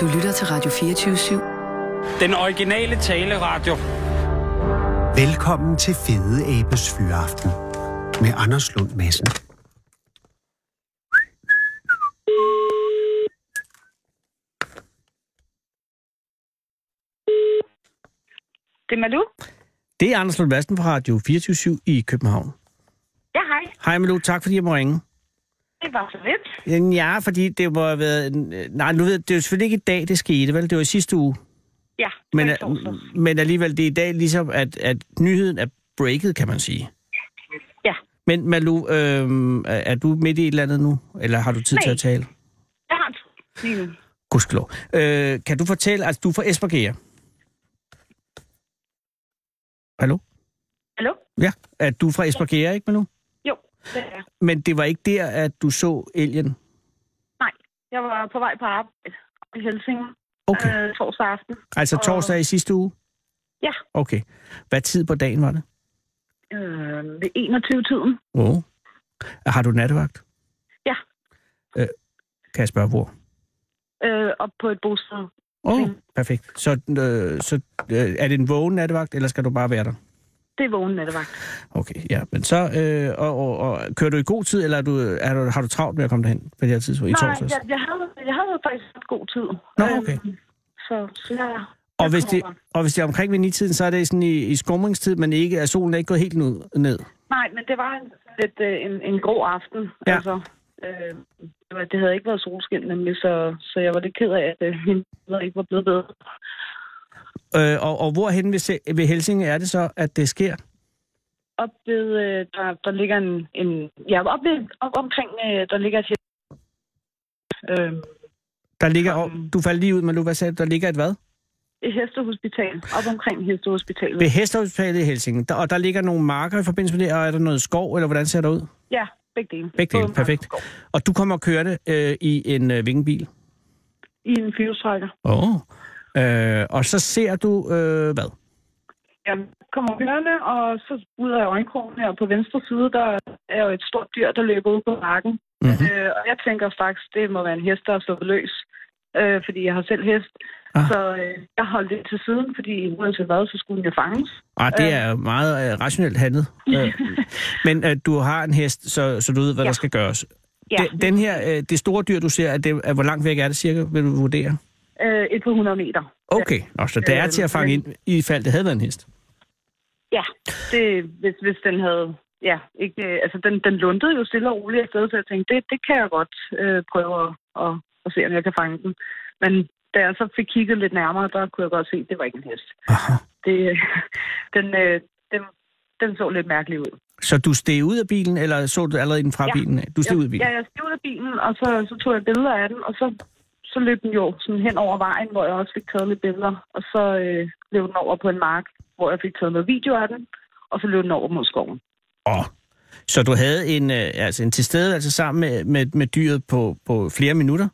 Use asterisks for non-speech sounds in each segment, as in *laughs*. Du lytter til Radio 24 Den originale taleradio. Velkommen til Fede Abes Fyraften med Anders Lund Madsen. Det er Malou. Det er Anders Lund Madsen fra Radio 24 i København. Ja, hej. Hej Malou, tak fordi jeg må ringe. Det var så lidt. Ja, fordi det var været... Nej, nu ved jeg, det er jo selvfølgelig ikke i dag, det skete, vel? Det var i sidste uge. Ja, Men, øh, mm. det var i torsdags. men alligevel, det er i dag ligesom, at, at nyheden er breaket, kan man sige. Ja. Men Malou, øh, er du midt i et eller andet nu? Eller har du tid til Nej. at tale? Jeg har en tur lige nu. Gudskelov. Øh, kan du fortælle, altså du er fra Esbjerg? Hallo? Hallo? Ja, at du er fra Esbjerg, ikke Malou? Jo, det er jeg. Men det var ikke der, at du så elgen? Nej, jeg var på vej på arbejde i Helsingør Okay. øh, torsdag aften. Altså torsdag i sidste uge? Ja. Okay. Hvad tid på dagen var det? Øh, ved 21-tiden. Wow. Har du nattevagt? Ja. Øh, kan jeg spørge hvor? Øh, op på et bosted. Åh, oh, Mm. perfekt. Så, øh, så øh, er det en vågen nattevagt, eller skal du bare være der? Det er vågen nattevagt. Okay, ja. Men så, øh, og, og, og, kører du i god tid, eller er du, er du, har du travlt med at komme derhen på det her tidspunkt i Nej, torsdags? jeg, jeg, havde, jeg havde faktisk ret god tid. Nå, Øhm, okay. så, så jeg, og, jeg hvis det, kommer. og hvis det er omkring ved nitiden, så er det sådan i, i skumringstid, men ikke, at solen er ikke gået helt nu- ned. Nej, men det var en, lidt øh, en, en grå aften. Ja. Altså, øh, det var- det havde ikke været solskin, nemlig, så, så jeg var lidt ked af, at øh, mine billeder ikke var blevet bedre. Øh, og, og hvorhen ved, Se- ved Helsinge er det så, at det sker? Op ved, øh, der, der ligger en, en ja, op, ved, op omkring, øh, der ligger et hjem. Øh, Der ligger, og, Sådan. du faldt lige ud, men hvad sagde du? Der ligger et hvad? et hestehospital, op omkring hestehospitalet. Ved Hestehospitalet i Helsinge, der, og der ligger nogle marker i forbindelse med det, og er der noget skov, eller hvordan ser det ud? Ja, begge dele. Begge dele, Både perfekt. mark og skov. Og du kommer og kører det øh, i en øh, hvilken bil? I en fyrstrækker. Åh. Oh. Øh, og så ser du, øh, hvad? Jamen, kommer kørende, og så ud af øjenkrogen her på venstre side, der er jo et stort dyr, der løber ud på marken. Mhm. Mm-hmm. Øh, og jeg tænker faktisk, det må være en hest, der er sluppet løs, øh, fordi jeg har selv hest. Ah. Ah. Så øh, jeg holdt det til siden, fordi uanset hvad, så skulle den jo fanges. Ah, det er jo meget øh, rationelt handlet. Øh, men øh, du har en hest, så, så du ved, hvad Ja. ja. der skal gøres. Ja, Den, den her, øh, det store dyr, du ser, er det, er, hvor langt væk er det cirka, vil du vurdere? øh, et par hundrede meter. Okay, Nå, så det er Øh, til at fange ind, i fald det havde været en hest. Ja, det, hvis, hvis den havde... Ja, ikke, øh, altså den, den lundede jo stille og roligt afsted, så jeg tænkte, det, det kan jeg godt øh, prøve at, at, at se, om jeg kan fange den. Men da jeg så fik kigget lidt nærmere, der kunne jeg godt se, at det var ikke en hest. Aha. Det, *laughs* øh, den, øh, den, den så lidt mærkelig ud. Så du steg ud af bilen, eller så du allerede den fra Ja. bilen? Du steg jeg, ud af bilen? Ja, jeg steg ud af bilen, og så, så tog jeg billeder af den, og så, så løb den jo sådan hen over vejen, hvor jeg også fik taget lidt billeder. Og så øh, løb den over på en mark, hvor jeg fik taget noget video af den, og så løb den over mod skoven. Åh. Så du havde en, øh, altså en tilstedeværelse sammen med, med, med dyret på, på flere minutter?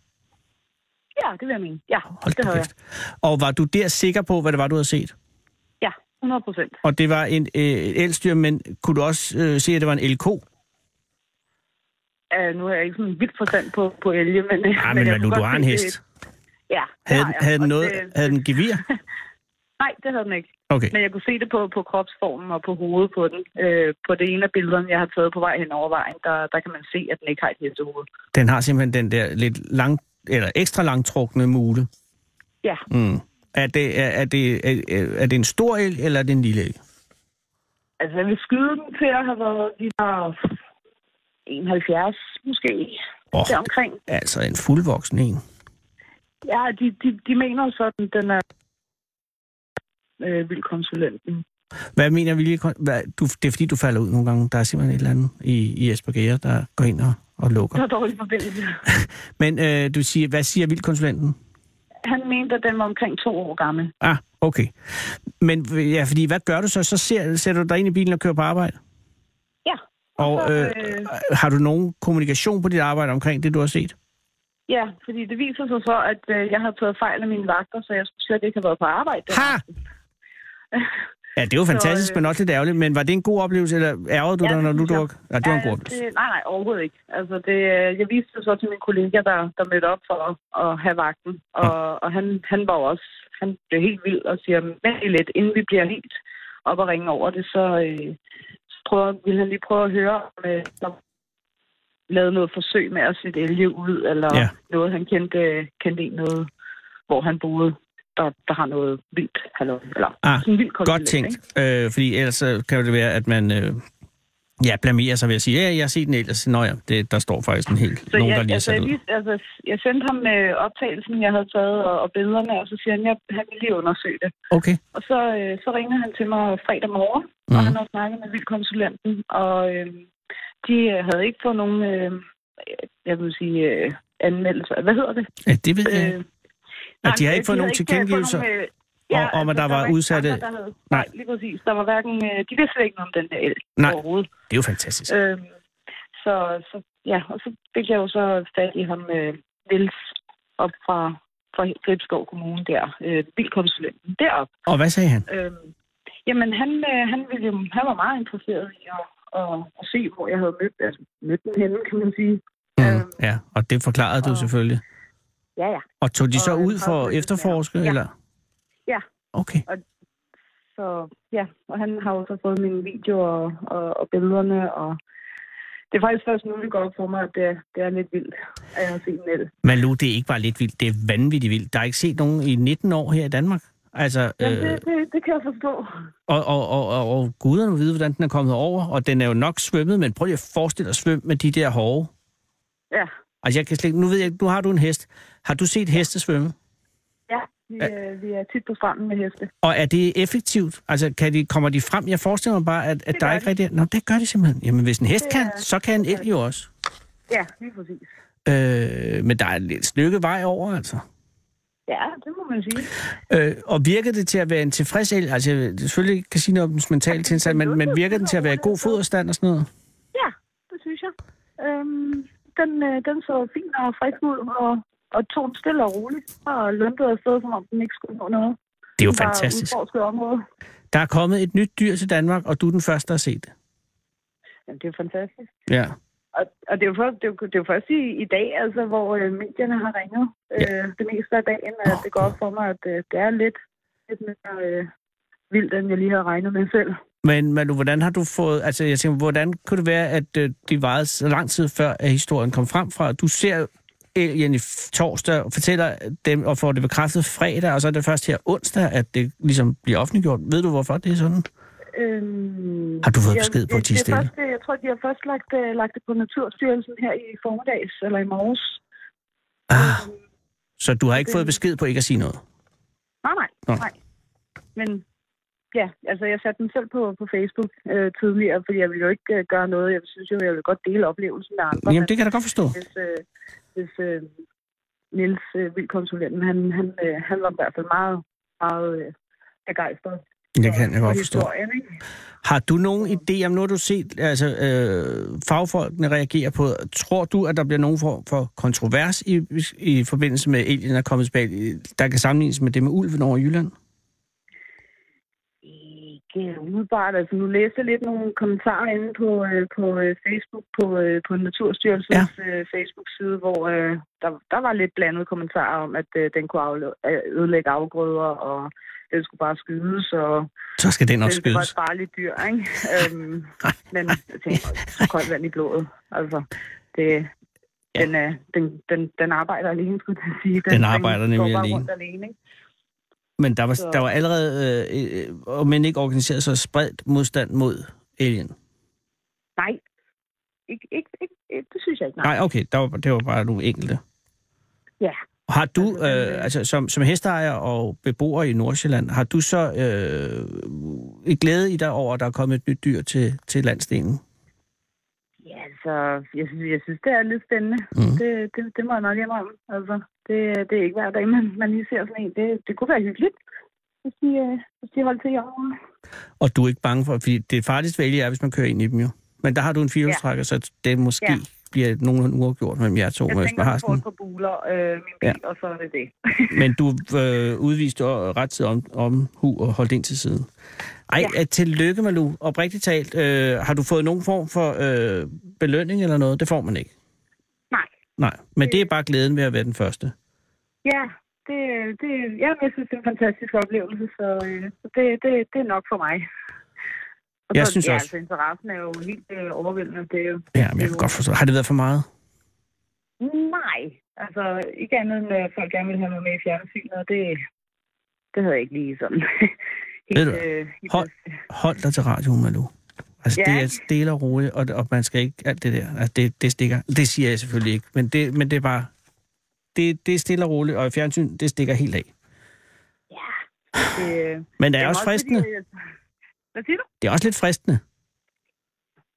Ja, det vil jeg mene. Ja, Hold det da havde jeg. kæft. Og var du der sikker på, hvad det var, du havde set? Ja, 100 procent. Og det var en øh, et elstyr, men kunne du også øh, se, at det var en LK? Uh, nu er jeg ikke sådan vildt forstand på, på elge, men... øh, Nej, men, jeg men kunne du godt har en se, hest. det- Ja, det Havde, har jeg. havde den Og noget, det- havde den *laughs* gevir? Nej, det havde den ikke. Okay. Men jeg kunne se det på, på kropsformen og på hovedet på den. Øh, på det ene af billederne, jeg har taget på vej hen over vejen, der, der kan man se, at den ikke har et hestehoved. Den har simpelthen den der lidt lang, eller ekstra langtrukne mule. Ja, Mm. Er, det, er, er, det, er, er det en stor el, eller er det en lille el? altså jeg vil skyde den til at have været de der 71 måske. Åh. Oh. Deromkring. Altså en fuldvoksen en. Ja, de, de, de mener jo sådan, den er øh, vildkonsulenten. Hvad mener vi lige? Hvad, du, det er fordi, du falder ud nogle gange. Der er simpelthen et eller andet i, i Esbjerg, Gære, der går ind og, og Der lukker. er dårlig forbindelse. Men øh, du siger, hvad siger vildkonsulenten? Han mente, at den var omkring to år gammel. Ah, okay. Men ja, fordi hvad gør du så? Så ser, sætter du dig ind i bilen og kører på arbejde? Ja. Og så, øh, øh, har du nogen kommunikation på dit arbejde omkring det, du har set? Ja, fordi det viser sig så, at øh, jeg havde taget fejl af mine vagter, så jeg skulle slet ikke have været på arbejde. Ha! Ja, det er jo fantastisk, *laughs* Så, så, øh, men også lidt ærgerligt. Men var det en god oplevelse, eller ærgede du Ja, dig, når det du synes jeg. druk? Ja, det var en god oplevelse. det, nej, nej, overhovedet ikke. Altså, det, øh, jeg viste det så til min kollega, der, der mødte op for at, at have vagten. Og, og han, han var jo også, han blev helt vild og siger, men lige lidt, inden vi bliver helt op og ringe over det, så, øh, så prøver, vil han lige prøve at høre, om øh, der lavede noget forsøg med at sætte elge ud, eller Ja. ja. noget, han kendte, kendte en noget, hvor han boede, der, der har noget vildt, halløj, eller Ah, sådan en vild Godt tænkt, øh, fordi ellers så kan det være, at man øh, ja, blamerer sig ved at sige, ja, jeg har set en ellers. Nå ja, det, der står faktisk en hel, Så nogen, jeg, der lige har altså, sat jeg, ud. lige, altså, jeg sendte ham med optagelsen, jeg havde taget, og, og billederne, og så siger han, at han ville lige undersøge det. Okay, Og så, øh, så ringede han til mig fredag morgen, mm. og Mhm. han havde snakket med vildkonsulenten, og øh, de øh, havde ikke fået nogen, øh, jeg vil sige, øh, anmeldelser. Hvad hedder det? ja, det ved Øh. jeg. ikke. nej, de har ikke fået havde nogen ikke, øh, tilkendegivelser fået nogen, øh, om- om, at der var ikke udsatte- Andre, der havde, nej, Nej. lige præcis. Der var hverken... Øh, de vidste slet ikke noget om den der el Nej. overhovedet. Det er jo fantastisk. Øhm, så, så, ja, og så fik jeg jo så fat i ham, øh, Niels, op fra, fra Gribskov Kommune der, øh, bilkonsulenten deroppe. Og hvad sagde han? Øhm, jamen, han, øh, han, ville, jo- han var meget interesseret i at, at, at se, hvor jeg havde mødt, altså, mødt den henne, kan man sige. Mm, øhm, ja, og det forklarede du og- selvfølgelig. Ja, ja. Og tog de så og ud en for at påfølgende- efterforske, ja. eller? Ja. Okay, Så ja, og han har jo så fået mine videoer og, og, og billederne, og det er faktisk først nu, det går op for mig, at det, er- det er lidt vildt, at jeg har set en el. Malou, det er ikke bare lidt vildt, det er vanvittigt vildt. Der er ikke set nogen i 19 år her i Danmark. Altså, Jamen, øh, det, det, det kan jeg forstå. Og, og, og, og, og guderne vide, hvordan den er kommet over, og den er jo nok svømmet, men prøv lige at forestille dig at svømme med de der hårde. Ja. Altså, jeg kan slet, ikke- nu ved jeg, ikke, nu har du en hest. Har du set heste svømme? Ja, vi, øh, vi er tit på stranden med heste. Og er det effektivt? Altså, kan de, kommer de frem? Jeg forestiller mig bare, at, at der gør er ikke rigtig... Nå, det gør de simpelthen. Jamen, hvis en hest Det kan, er- så kan en el jo også. Ja, lige præcis. Øh, men der er et stykke vej over, altså. Ja, det må man sige. Øh, og virker det til at være en tilfreds el? Altså, jeg vil selvfølgelig ikke kan sige noget om dens mentale tilstand, men, men virker den til at være i god foderstand og sådan noget? Ja, det synes jeg. Øhm, den, øh, den så fin og frisk ud, og, og tog den stille og roligt, og løntede afsted, som om den ikke skulle nå noget. Det er jo Den var fantastisk. udforsket område. Der er kommet et nyt dyr til Danmark, og du er den første, der har set det. Jamen, det er jo fantastisk. Ja. Og, og det er jo først, det er, jo- det er jo først i, i dag, altså, hvor øh, medierne har ringet øh, det meste af dagen, at det går op for mig, at øh, det er lidt, lidt mere øh, vildt, end jeg lige havde regnet med selv. Men Malu, hvordan har du fået... Altså, jeg tænker, hvordan kunne det være, at øh, de varede så lang tid før, at historien kom frem fra? Du ser alien i f- torsdag, og fortæller dem og får det bekræftet fredag, og så er det først her onsdag, at det ligesom bliver offentliggjort. Ved du, hvorfor det er sådan? Øhm, Har du fået besked på, at de er det stille? Først, øh, jeg tror, de har først lagt, øh, lagt det på Naturstyrelsen her i formiddags, eller i morges. Ah, så du har ikke det- fået besked på ikke at sige noget? Nej, nej, Nå. nej. Men ja, altså jeg satte den selv på, på Facebook øh, tidligere, fordi jeg ville jo ikke øh, gøre noget. Jeg synes jo, jeg ville godt dele oplevelsen med andre. Jamen, det kan jeg da godt forstå. men Hvis, øh, hvis øh, Niels øh, Vildkonsulenten, han, han, øh, han var i hvert fald meget, meget øh, begejstret. Det kan jeg for godt forstå. historien, ikke? Har du nogen idé om, nu har du set, altså øh, fagfolkene reagerer på, tror du, at der bliver nogen form for kontrovers i, i forbindelse med alien, der er kommet tilbage, der kan sammenlignes med det med ulven over i Jylland? Ikke umiddelbart. Altså, nu læste jeg lidt nogle kommentarer inde på, øh, på øh, Facebook, på, øh, på Naturstyrelsens ja. Facebook-side, hvor øh, der, der var lidt blandede kommentarer om, at øh, den kunne afle- øh, ødelægge afgrøder, og den skulle bare skydes, og Så skal den Nå, også det var skydes. et farligt dyr, ikke? *laughs* Øhm, men jeg tænkte, "Åh, koldt vand i blodet. Altså, det, Ja. den, øh, den, den, den arbejder alene, skulle jeg sige. Den arbejder den går nemlig bare alene. Rundt alene ikke? Men der var, Så- der var allerede, øh, øh, om men ikke organiseret, så spredt modstand mod alien. Nej, ikke, ikke, ikke, ikke, det synes jeg ikke. Nej, okay, der var, det var bare nogle enkelte. Ja. Har du, Altså, den, øh, øh, altså som, som hesteejer og beboer i Nordsjælland, har du så øh, et glæde i dig over, at der er kommet et nyt dyr til, til landstenen? Ja, altså, jeg synes, jeg synes det er lidt spændende. Mhm. Mm. Det, det, det må jeg nok indrømme. Altså, det, det er ikke hver dag, man, man lige ser sådan en. Det, det kunne være hyggeligt, hvis de, øh, hvis de holdt til i år. Og du er ikke bange for, fordi det farligste vælge er, hvis man kører ind i dem jo. Men der har du en firehjulstrækker, ja. så det er måske Ja. bliver nogenlunde uafgjort mellem jer to, Jeg hvis tænker, man har at jeg får sådan. et par buler, øh, min bil, ja. og så er det *laughs* det. Men du øh, udviste øh, rettidig om, omhu og holdt ind til siden. Ej, ja. tillykke, Malu. Oprigtigt talt, øh, har du fået nogen form for øh, belønning eller noget? Det får man ikke. Nej. Nej, men det er bare glæden ved at være den første. Ja, det, det, ja, jeg synes, det er en fantastisk oplevelse, så, øh, så det, det, det er nok for mig. Og Jeg så, synes ja, også- Altså, interessen er jo helt øh, overvældende. Det er jo, Ja, men jeg kan godt forstå. Har det været for meget? Nej, altså ikke andet end, at folk gerne ville have mig med i fjernsynet, og det, det havde jeg ikke lige sådan. *laughs* Ved du hvad? øh, helt Hold, lyst til. hold dig til radioen, Malu. Altså, ja. Ja. det er stille og roligt, og, og man skal ikke alt det der. Altså, det, det stikker. Det siger jeg selvfølgelig ikke, men det, men det er bare... Det, det er stille og roligt, og fjernsyn, det stikker helt af. det, øh, Men det er Jamen, også fristende. Fordi, øh, hvad siger du? Det er også lidt fristende.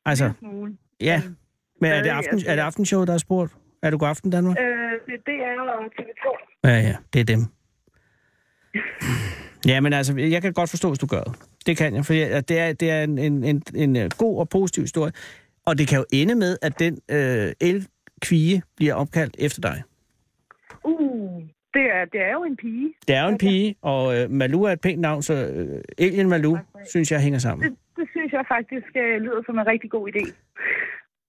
Altså, En smule. ja. Mm. Men er det, Stadig, aften, altså, er det ja. aftenshow, der er spurgt? Er du god aften, Danmark? Øh, det, det er jo TV2. Ja, ja, det er dem. Ja, men altså, jeg kan godt forstå, hvis du gør det. Det kan jeg, for det er, det er en, en, en, en øh, god og positiv historie. Og det kan jo ende med, at den øh, el-kvige bliver opkaldt efter dig. Uh, det er, det er jo en pige. Det er jo en pige, og øh, Malu er et pænt navn, så øh, Alien Malu, synes jeg, hænger sammen. Det, det synes jeg faktisk øh, lyder som en rigtig god idé.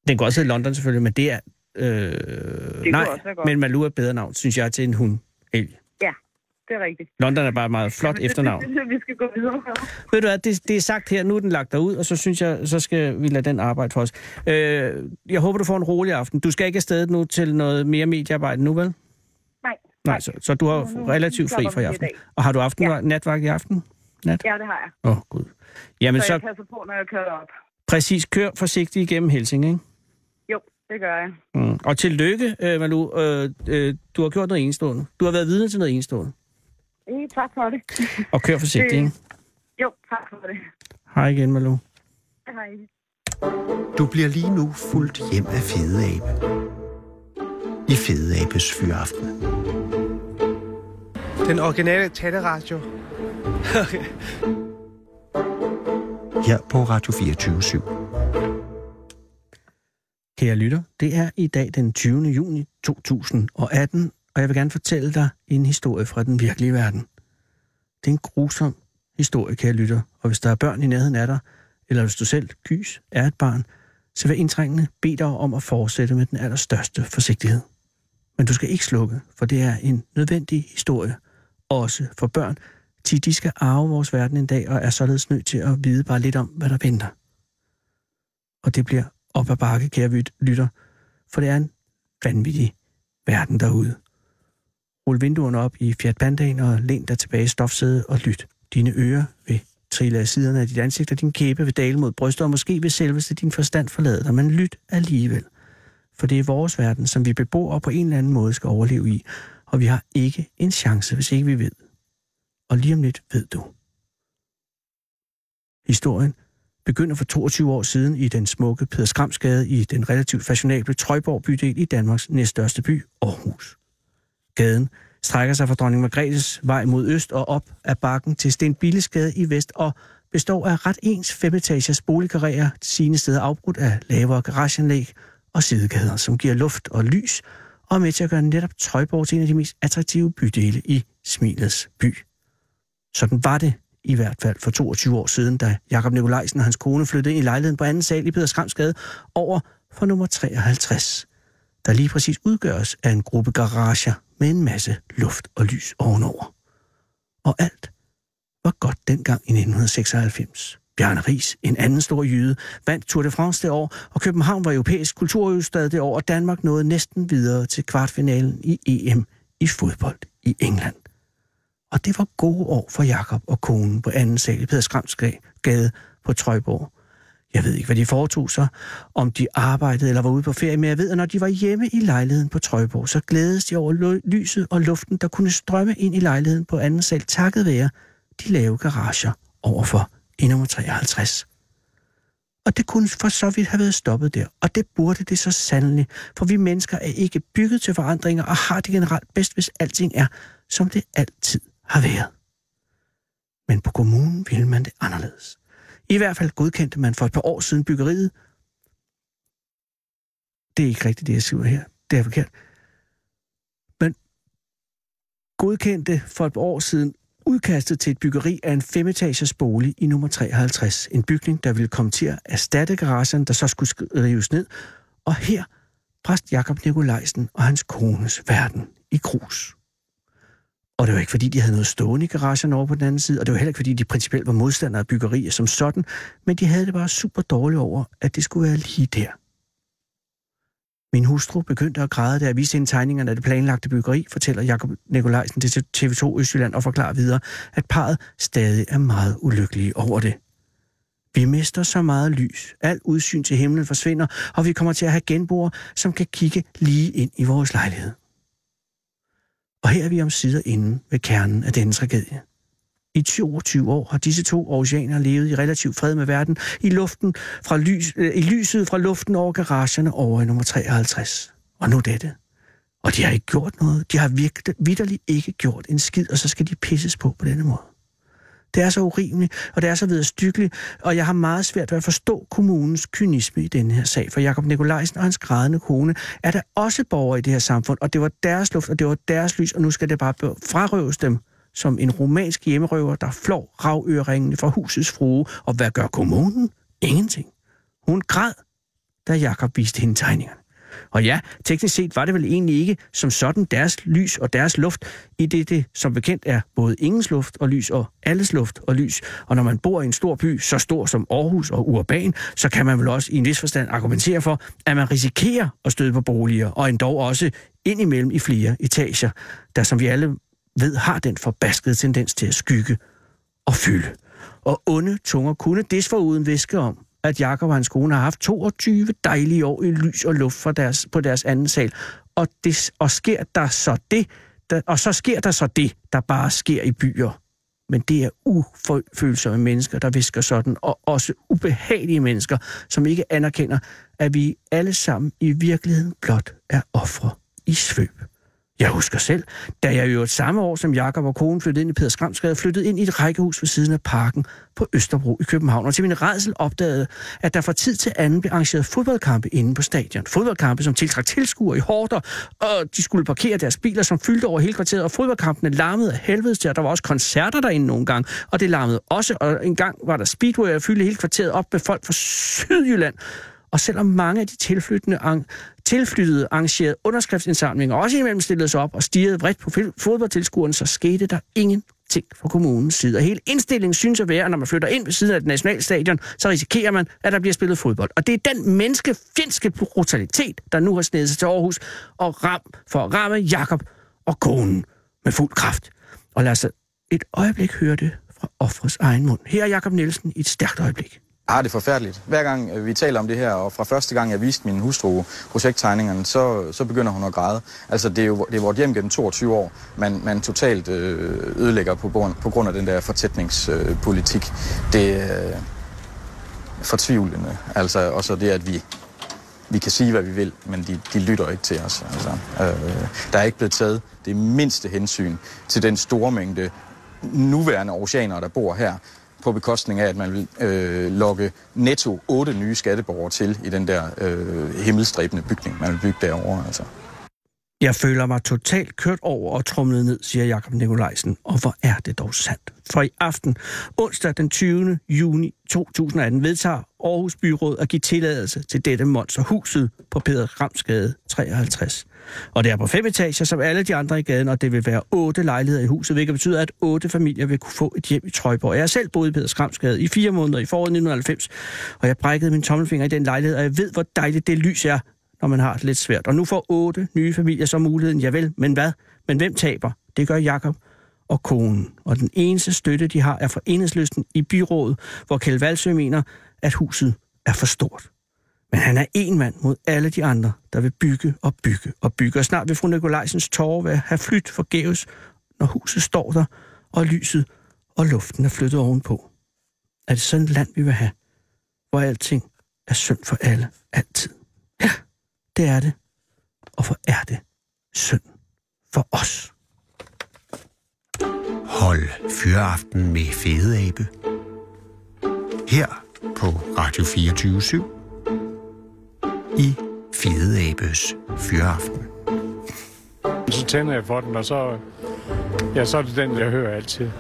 Den kan også hedde London selvfølgelig, men det er... Øh, kunne nej, også være godt. men Malu er et bedre navn, synes jeg, til en hund. El. Det er rigtigt. London er bare et meget flot efternavn. Det synes jeg, vi skal gå videre med. Ved du hvad, det, det er sagt her, nu er den lagt derud, og så synes jeg, så skal vi lade den arbejde for os. Øh, jeg håber, du får en rolig aften. Du skal ikke afsted nu til noget mere mediearbejde nu, vel? Nej, Nej, så, så du har Nu- nu relativt fri slapper for i vi lidt aften. af. Og har du aften, ja. natvagt i aften? ja, det har jeg. Åh, oh, gud. Jamen Men så, så, jeg passer på, når jeg kører op. præcis, kør forsigtigt igennem Helsing, ikke? Jo, det gør jeg. Mm. Og tillykke, øh, Malu. Øh, øh, du har gjort noget enestående. Du har været vidne til noget enestående. Øh, tak for det. Og kør forsigtigt, Øh. ikke? Jo, tak for det. Hej igen, Malu. Hej. Du bliver lige nu fuldt hjem af Fede Abe. I Fede Abes Fyraften. Den originale taleradio. Her på Radio 24 /7. Kære lytter, det er i dag den 20. juni 2018, og jeg vil gerne fortælle dig en historie fra den virkelige verden. Det er en grusom historie, kære lytter, og hvis der er børn i nærheden af dig, eller hvis du selv, gys, er et barn, så vil indtrængende bede dig om at fortsætte med den allerstørste forsigtighed. Men du skal ikke slukke, for det er en nødvendig historie, også for børn, til de skal arve vores verden en dag og er således nødt til at vide bare lidt om, hvad der venter og det bliver op ad bakke, kære vyt- lytter, for det er en vanvittig verden derude. Rul vinduerne op i Fiat Pandaen og læn dig tilbage i stofsædet og lyt. Dine ører vil trille af siderne af dit ansigt, og din kæbe vil dale mod brystet, og måske vil selveste din forstand forlade dig, men lyt alligevel. For det er vores verden, som vi beboere på en eller anden måde skal overleve i, og vi har ikke en chance, hvis ikke vi ved. Og lige om lidt ved du. Historien begynder for 22 år siden i den smukke Peder Skramsgade i den relativt fashionable Trøjborg bydel i Danmarks næststørste by, Aarhus. Gaden strækker sig fra Dronning Margrethes vej mod øst og op ad bakken til Stenbillesgade i vest og består af ret ens femetages boligkarrierer, sine steder afbrudt af lavere garageanlæg og sidegader, som giver luft og lys og er med til at gøre netop Trøjborg til en af de mest attraktive bydele i Smilets by. Sådan var det i hvert fald for 22 år siden, da Jakob Nikolajsen og hans kone flyttede ind i lejligheden på anden sal i Peder Skramsgade over for nummer 53, der lige præcis udgøres af en gruppe garager med en masse luft og lys ovenover. Og alt var godt dengang i 1996. Bjarne Ries, en anden stor jyde, vandt Tour de France det år, og København var europæisk kulturhovedstad det år, og Danmark nåede næsten videre til kvartfinalen i EM i fodbold i England og det var gode år for Jakob og konen på anden sal i Peder Skrams gade på Trøjborg. Jeg ved ikke, hvad de foretog sig, om de arbejdede eller var ude på ferie, men jeg ved, at når de var hjemme i lejligheden på Trøjborg, så glædes de over lo- lyset og luften, der kunne strømme ind i lejligheden på anden sal, takket være de lave garager overfor i nummer 53. Og det kunne for så vidt have været stoppet der, og det burde det så sandelig, for vi mennesker er ikke bygget til forandringer og har det generelt bedst, hvis alting er, som det altid har været. Men på kommunen ville man det anderledes. I hvert fald godkendte man for et par år siden byggeriet det er ikke rigtigt, det jeg skriver her. Det er forkert. Men godkendte for et par år siden udkastet til et byggeri af en femetagers bolig i nummer 53. En bygning, der ville komme til at erstatte garagen, der så skulle sk- rives ned. Og her præst Jakob Nikolajsen og hans kones verden i krus. Og det var ikke, fordi de havde noget stående i garagen over på den anden side, og det var heller ikke, fordi de principielt var modstandere af byggerier som sådan, men de havde det bare super dårligt over, at det skulle være lige der. Min hustru begyndte at græde, da jeg viste hende tegningerne af det planlagte byggeri, fortæller Jakob Nikolajsen til TV2 Østjylland og forklarer videre, at parret stadig er meget ulykkelige over det. Vi mister så meget lys, alt udsyn til himlen forsvinder, og vi kommer til at have genboer, som kan kigge lige ind i vores lejlighed. Og her er vi om sider inde ved kernen af denne tragedie. I 22 år har disse to oceaner levet i relativ fred med verden, i, luften fra lys, øh, i lyset fra luften over garagerne over i nummer 53. Og nu dette. Og de har ikke gjort noget. De har virke- vitterligt ikke gjort en skid, og så skal de pisses på på denne måde. Det er så urimeligt, og det er så vederstykkeligt, og jeg har meget svært ved at forstå kommunens kynisme i denne her sag. For Jakob Nikolajsen og hans grædende kone er der også borgere i det her samfund, og det var deres luft, og det var deres lys, og nu skal det bare be- frarøves dem som en romansk hjemmerøver, der flår ravøringene fra husets frue. Og hvad gør kommunen? Ingenting. Hun græd, da Jakob viste hende tegningerne. Og ja, teknisk set var det vel egentlig ikke som sådan deres lys og deres luft, i det det som bekendt er både ingens luft og lys og alles luft og lys. Og når man bor i en stor by, så stor som Aarhus og urban, så kan man vel også i en vis forstand argumentere for, at man risikerer at støde på boliger, og endog også indimellem i flere etager, der som vi alle ved har den forbaskede tendens til at skygge og fylde. Og onde tunger kunne desforuden viske om, at Jakob og hans kone har haft 22 dejlige år i lys og luft fra deres, på deres anden sal. Og, det, og sker der så det, der, og så sker der så det, der bare sker i byer. Men det er ufølsomme mennesker, der visker sådan, og også ubehagelige mennesker, som ikke anerkender, at vi alle sammen i virkeligheden blot er ofre i svøb. Jeg husker selv, da jeg i øvrigt samme år som Jakob og konen flyttede ind i Peder Skramsgade, flyttede ind i et rækkehus ved siden af parken på Østerbro i København, og til min redsel opdagede, at der fra tid til anden blev arrangeret fodboldkampe inde på stadion. Fodboldkampe, som tiltrak tilskuere i hårder, og de skulle parkere deres biler, som fyldte over hele kvarteret, og fodboldkampene larmede af helvede til, og der var også koncerter derinde nogle gange, og det larmede også, og en gang var der speedway, og fyldte hele kvarteret op med folk fra Sydjylland, og selvom mange af de tilflyttende ang- tilflyttede arrangerede underskriftsindsamlinger også imellem stillede sig op og stirrede vredt på fil- fodboldtilskueren, så skete der ingenting fra kommunens side. Og hele indstillingen synes at være, at når man flytter ind ved siden af et nationalstadion, så risikerer man, at der bliver spillet fodbold. Og det er den menneskefjendske brutalitet, der nu har snedet sig til Aarhus og ram for at ramme Jakob og konen med fuld kraft. Og lad os et øjeblik høre det fra offrets egen mund. Her er Jakob Nielsen i et stærkt øjeblik. Jeg har Ah, det forfærdeligt. Hver gang øh, vi taler om det her, og fra første gang jeg viste min hustru projekttegningerne, så, så begynder hun at græde. Altså det er jo det er vort hjem gennem 22 år, man, man totalt øh, ødelægger på grund, på grund af den der fortætningspolitik. Øh, politik. det er øh, fortvivlende. Altså også det, at vi, vi kan sige, hvad vi vil, men de, de lytter ikke til os. Altså, øh, der er ikke blevet taget det mindste hensyn til den store mængde nuværende oceaner, der bor her, på bekostning af, at man vil øh, lokke netto otte nye skatteborgere til i den der øh, himmelstræbende bygning, man vil bygge derovre. Altså. Jeg føler mig totalt kørt over og trumlet ned, siger Jakob Nikolajsen. Og hvor er det dog sandt? For i aften, onsdag den 20. juni 2018, vedtager Aarhus Byråd at give tilladelse til dette monsterhuset på Peder Ramsgade 53. Og det er på fem etager, som alle de andre i gaden, og det vil være otte lejligheder i huset, hvilket betyder, at otte familier vil kunne få et hjem i Trøjborg. Jeg har selv boet i Peder Skramsgade i fire måneder i foråret 1990, og jeg brækkede min tommelfinger i den lejlighed, og jeg ved, hvor dejligt det lys er, når man har det lidt svært. Og nu får otte nye familier så muligheden, ja vel, men hvad? Men hvem taber? Det gør Jakob og konen. Og den eneste støtte, de har, er fra enhedsløsten i byrådet, hvor Kjeld Valsø mener, at huset er for stort. Men han er en mand mod alle de andre, der vil bygge og bygge og bygge. Og snart vil fru Nikolajsens tårer være have flyttet forgæves, når huset står der, og lyset og luften er flyttet ovenpå. Er det sådan et land, vi vil have, hvor alting er synd for alle, altid? Det er det. Og for er det synd for os. Hold Fyraften med Fede Abe. Her på Radio 24 7 i Fedeabes fyraften. Så tænder jeg for den, og så, ja, så er det den, jeg hører altid.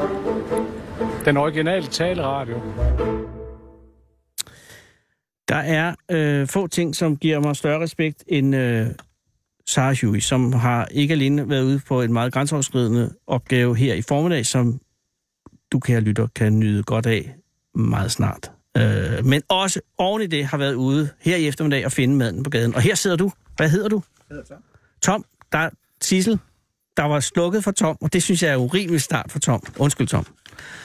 Den originale taleradio. Der er øh, få ting, som giver mig større respekt end øh, Sarah Huey, som har ikke alene været ude på en meget grænseoverskridende opgave her i formiddag, som du, kære lytter, kan nyde godt af meget snart. Øh, men også oven i det har været ude her i eftermiddag og finde maden på gaden. Og her sidder du. Hvad hedder du? Tom. Tom, der er Sissel, der var slukket for Tom, og det synes jeg er urimelig start for Tom. Undskyld, Tom.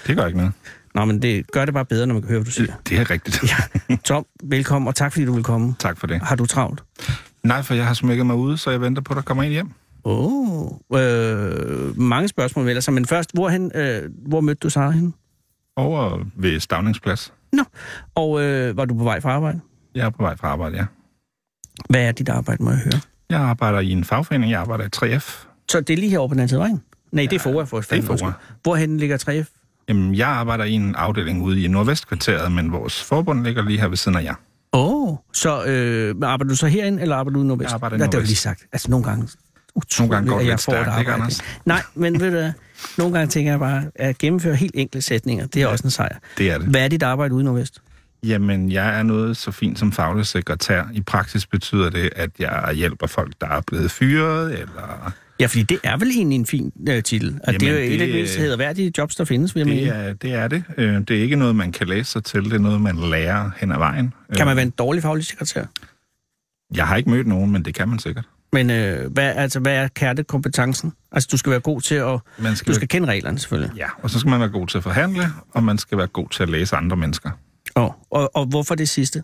Det gør ikke noget. Nå, men det gør det bare bedre, når man kan høre, hvad du siger. Det er rigtigt. Ja. Tom, velkommen, og tak fordi du vil komme. tak for det. Har du travlt? Nej, for jeg har smækket mig ude, så jeg venter på, at der kommer en hjem. Åh, oh, øh, mange spørgsmål melder sig, men først, hvorhen, øh, hvor mødte du Sara henne? Over ved Stavningsplads. Nå, og øh, var du på vej fra arbejde? Jeg er på vej fra arbejde, ja. Hvad er dit arbejde, må jeg høre? Jeg arbejder i en fagforening. Jeg arbejder i 3F. Så det er lige herovre på den anden side af vejen? Nej, ja, det er Fora for det er FOA. Hvorhen ligger 3F? Jamen, jeg arbejder i en afdeling ude i Nordvestkvarteret, men vores forbund ligger lige her ved siden af jer. Åh, oh, så øh, arbejder du så herinde, eller arbejder du i Nordvest? Jeg arbejder i Nej, det har jeg Nordvest. lige sagt. Altså, nogle gange... Utroligt, Nogle gange går det at jeg lidt får et stærkt, ikke, arbejde. Anders? Nej, men ved du hvad, nogle gange tænker jeg bare, at gennemføre helt enkle sætninger, det er ja, også en sejr. det er det. Hvad er dit arbejde ude i Nordvest? Jamen, jeg er noget så fint som faglig sekretær. I praksis betyder det, at jeg hjælper folk, der er blevet fyret, eller... Ja, fordi det er vel egentlig en fin øh, titel. Og Jamen, det er jo Jamen, et af de det, mest øh, hederværdige jobs, der findes, vil jeg mene. Det er det. Er det. Øh, det er ikke noget, man kan læse sig til. Det er noget, man lærer hen ad vejen. Kan man Øh, være en dårlig faglig sekretær? Jeg har ikke mødt nogen, men det kan man sikkert. Men øh, hvad, altså, hvad er kertekompetencen? Altså, du skal være god til at... Man skal Du skal kende reglerne, selvfølgelig. Ja, og så skal man være god til at forhandle, og man skal være god til at læse andre mennesker. Og, og, og hvorfor det sidste?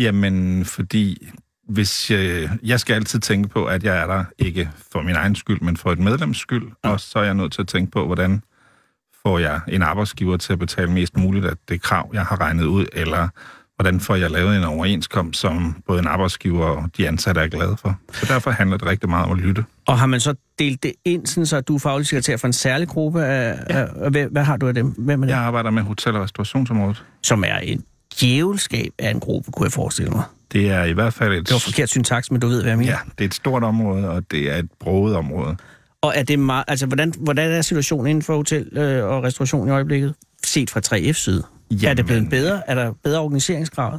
Jamen, fordi hvis øh, jeg skal altid tænke på, at jeg er der ikke for min egen skyld, men for et medlems skyld, og så er jeg nødt til at tænke på, hvordan får jeg en arbejdsgiver til at betale mest muligt af det krav, jeg har regnet ud, eller hvordan får jeg lavet en overenskomst, som både en arbejdsgiver og de ansatte er glade for. Så derfor handler det rigtig meget om at lytte. Og har man så delt det ind, sådan, så du er faglig sekretær for en særlig gruppe? Af, ja. af, og hvad, hvad har du af dem? Hvem er det? Jeg Ja. arbejder med hotel- og restaurationsområdet. Som er en djævelskab af en gruppe, kunne jeg forestille mig. Det er i hvert fald et... Det var forkert syntaks, men du ved, hvad jeg mener. Ja, det er et stort område, og det er et broget område. Og er det meget, altså, hvordan, hvordan er situationen inden for hotel øh, og restauration i øjeblikket? Set fra 3F's side. Jamen, er det blevet Jamen, bedre? Er der bedre organiseringsgrad?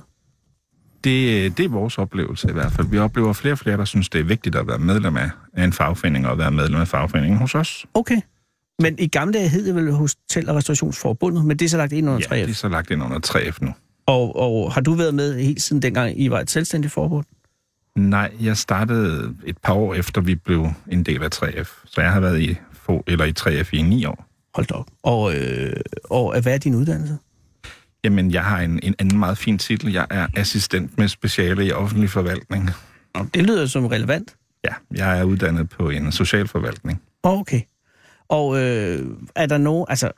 Det, det er vores oplevelse i hvert fald. Vi oplever flere og flere, der synes, det er vigtigt at være medlem af af en fagforening, og at være medlem af fagforeningen hos os. Okay. Men i gamle dage hed det vel Hotel- og Restaurationsforbundet, men det er så lagt ind under Ja, 3F. det er så lagt ind under 3F nu. Og, og har du været med helt siden dengang, I var et selvstændigt forbund? Nej, jeg startede et par år efter, vi blev en del af 3F. Så jeg har været i, få- eller i 3F i ni år. Hold da op. Og, øh, og hvad er din uddannelse? Jamen, jeg har en, en anden meget fin titel. Jeg er assistent med speciale i offentlig forvaltning. Nå, det lyder som relevant. Ja, jeg er uddannet på en socialforvaltning. Åh, Okay. Og øh, er der nogen, altså,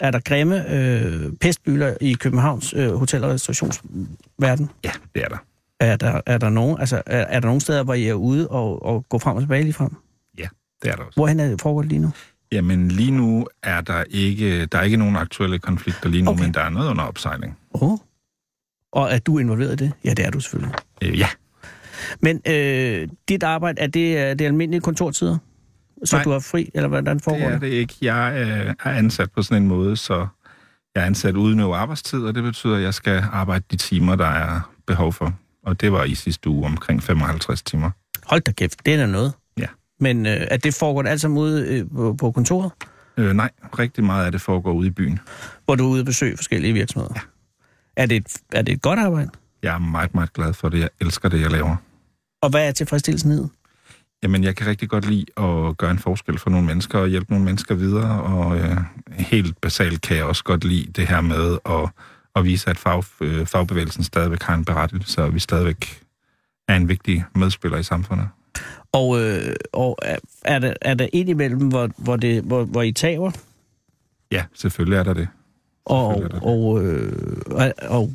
er der grimme øh, pestbyler i Københavns øh, hotel- og restaurationsverden? Ja, det er der. Er der, er der nogen, altså, er, er der nogen steder, hvor I er ude og, og går frem og tilbage lige frem? Ja, det er der også. Hvorhen er det foregået lige nu? Jamen lige nu er der ikke, der er ikke nogen aktuelle konflikter lige nu, Okay. okay. men der er noget under opsejling. Oh. Og er du involveret i det? Ja, det er du selvfølgelig. Øh, ja, Men øh, dit arbejde, er det, er det almindelige kontortider? Så Nej. du har fri, eller hvordan det foregår er det? det ikke. Jeg øh, er ansat på sådan en måde, så jeg er ansat uden over arbejdstid, og det betyder, at jeg skal arbejde de timer, der er behov for. Og det var i sidste uge omkring 55 timer. Hold da kæft, det er da noget. Ja. Men øh, at det foregår det alt sammen ude øh, på, på kontoret, Øh, nej, rigtig meget af det foregår ude i byen. hvor du er ude og besøge forskellige virksomheder? Ja. Er det, et, er det et godt arbejde? Jeg er meget, meget glad for det. Jeg elsker det, jeg laver. Og hvad er tilfredsstillelsen i det? Jamen, jeg kan rigtig godt lide at gøre en forskel for nogle mennesker og hjælpe nogle mennesker videre, og øh, helt basalt kan jeg også godt lide det her med at, at vise, at fag, øh, fagbevægelsen stadigvæk har en berettigelse, og vi stadigvæk er en vigtig medspiller i samfundet. Og, øh, og er, er, der, er der ind imellem, hvor, hvor, det, hvor, hvor I taber? Ja, selvfølgelig er der det. Og, Selvfølgelig er og, øh, og, og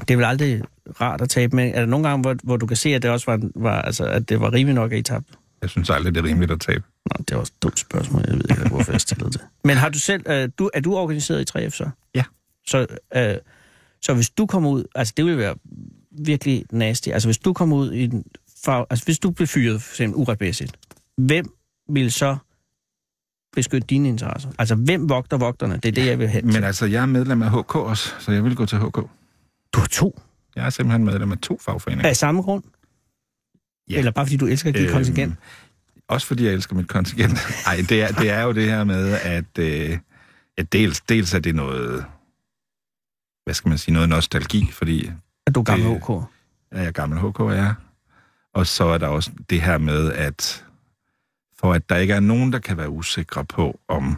det er vel aldrig rart at tabe, men er der nogle gange, hvor, hvor du kan se, at det også var, var, altså, at det var rimeligt nok, at I tabte? Jeg synes aldrig, det er rimeligt at tabe. Nå, det er også et dumt spørgsmål. Jeg ved ikke, hvorfor jeg stillede *laughs* det. Men har du selv, øh, du, er du organiseret i 3F så? Ja. Så, øh, så hvis du kommer ud, altså det ville være virkelig nasty. Altså, hvis du kom ud i en fag... Altså, hvis du blev fyret, for eksempel, uretmæssigt, hvem vil så beskytte dine interesser? Altså, hvem vogter vogterne? Det er det, jeg vil hen til. Men altså, jeg er medlem af HK også, så jeg vil gå til HK. Du har to Jeg er simpelthen medlem af to fagforeninger. af samme grund? Ja. Eller bare fordi du elsker at give Øhm, kontingent? Også fordi jeg elsker mit kontingent. *laughs* Nej, det er, det er jo det her med, at øh, ja, dels, dels er det noget, hvad skal man sige, noget nostalgi, fordi At du er gammel det- OK? er jeg gammel HK er. Og så er der også det her med, at for at der ikke er nogen, der kan være usikre på, om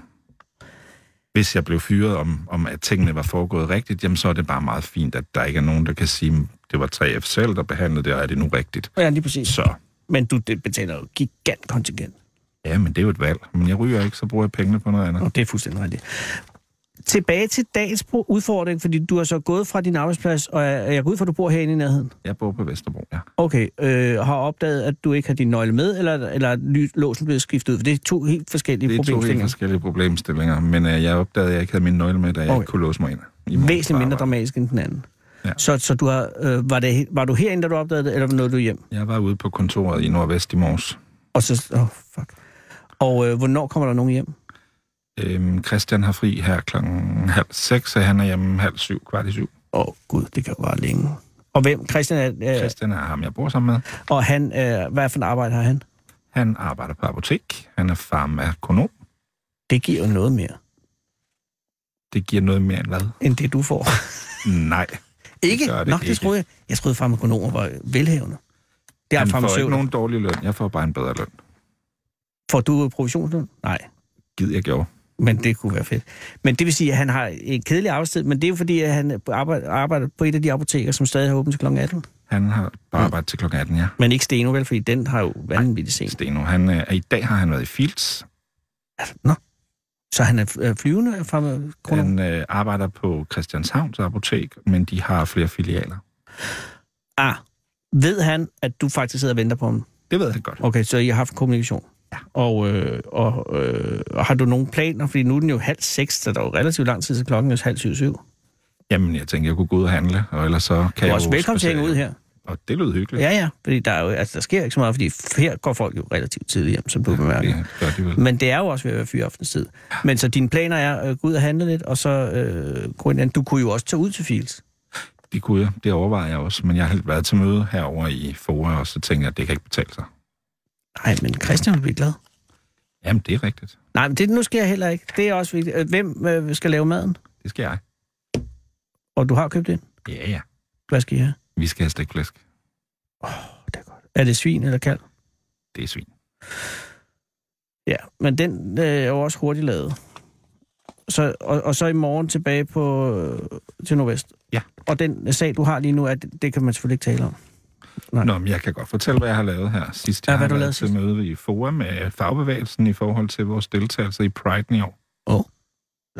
hvis jeg blev fyret, om, om at tingene var foregået rigtigt, jamen så er det bare meget fint, at der ikke er nogen, der kan sige, "Mm, det var 3F selv, der behandlede det, og er det nu rigtigt? Ja, lige præcis. Så, Men du det betaler jo gigant kontingent. ja, men det er jo et valg. Men jeg ryger ikke, så bruger jeg pengene på noget andet. Og det er fuldstændig rigtigt. Tilbage til dagens pro- udfordring, fordi du er så gået fra din arbejdsplads, og jeg jeg går ud fra, at du bor herinde i nærheden. Jeg bor på Vesterbro, ja. Okay, øh, har opdaget, at du ikke har din nøgle med, eller, eller er ly- låsen blevet skiftet ud? For det er to helt forskellige Det er to helt problemstillinger. forskellige problemstillinger, men øh, jeg opdagede, at jeg ikke havde min nøgle med, da jeg Okay. okay. ikke kunne låse mig ind. i morgen Væsentligt på mindre arbejde. dramatisk end den anden. Ja. Så, så du har, øh, var, det, he- var du herinde, da du opdagede det, eller nåede du hjem? Jeg var ude på kontoret i Nordvest i morges. Og så... Oh, fuck. Og øh, hvornår kommer der nogen hjem? Øhm, Christian har fri her klokken halv seks, og han er hjemme halv syv, kvart i syv. Åh, oh, gud, det kan jo være længe. Og hvem? Christian er... Øh, Christian er ham, jeg bor sammen med. og han, øh, hvad for en arbejde har han? Han arbejder på apotek. Han er farmakonom. Det giver jo noget mere, Det giver noget mere end hvad? end det du får. Nej. ikke? gør det Nå, det ikke. troede jeg. Jeg troede, farmakonomer var velhavende. Det er han får farmaceuter. ikke Nogen... nogen dårlig løn. Jeg får bare en bedre løn. Får du provisionsløn? Nej, Gid jeg gjorde. men det kunne være fedt. Men det vil sige, at han har en kedelig arbejdstid, men det er jo fordi, at han arbejder, arbejder på et af de apoteker, som stadig har åbent til kl. 18. Han har bare Mm. arbejdet til klokken 18, ja. Men ikke Steno, vel? Fordi den har jo vanvittigt sent. Steno, han, øh, i dag har han været i Fields. Nå. Så han er øh, flyvende farmakonom? Han øh, arbejder på Christianshavns apotek, men de har flere filialer. Ah, ved han, at du faktisk sidder og venter på ham? Det ved han godt. Okay, så I har haft kommunikation? Ja. Og, øh, og, øh, og har du nogen planer? Fordi nu er den jo halv seks, så der er jo relativt lang tid til klokken er halv syv syv. Jamen, jeg tænker, jeg kunne gå ud og handle, og ellers så kan Du er jeg også jo velkommen til at spadsere. hænge ud her. Og det lød hyggeligt. Ja, ja, fordi der, er jo, altså, der sker ikke så meget, fordi f- her går folk jo relativt tidligt hjem, som du ja, bemærker. det gør de vel. Men det er jo også ved at være fyraftentid. Men så dine planer er at gå ud og handle lidt, og så øh, gå ind. Du kunne jo også tage ud til Fields. Det kunne jeg. Det overvejer jeg også. Men jeg har været til møde herover i Fora, og så tænker jeg, at det kan ikke betale sig. Nej, men Christian vil blive glad. Jamen, det er rigtigt. Nej, men det nu sker heller ikke. Det er også vigtigt. Øh, Hvem øh, skal lave maden? Det skal jeg. Og du har købt ind. Ja, ja. Hvad skal I have? Vi skal have stikflæsk. Det er, godt. er det svin eller kalv? Det er svin. Ja, men den øh, er jo også hurtigt lavet. Så, og, og så i morgen tilbage på, øh, til Nordvest. Ja. Og den sag, du har lige nu, at det kan man selvfølgelig ikke tale om. Nej. Nå, men jeg kan godt fortælle, hvad jeg har lavet her sidst. Ja, Jeg hvad du har været lavede til sidst? møde i Fora med fagbevægelsen i forhold til vores deltagelse i Pride i år.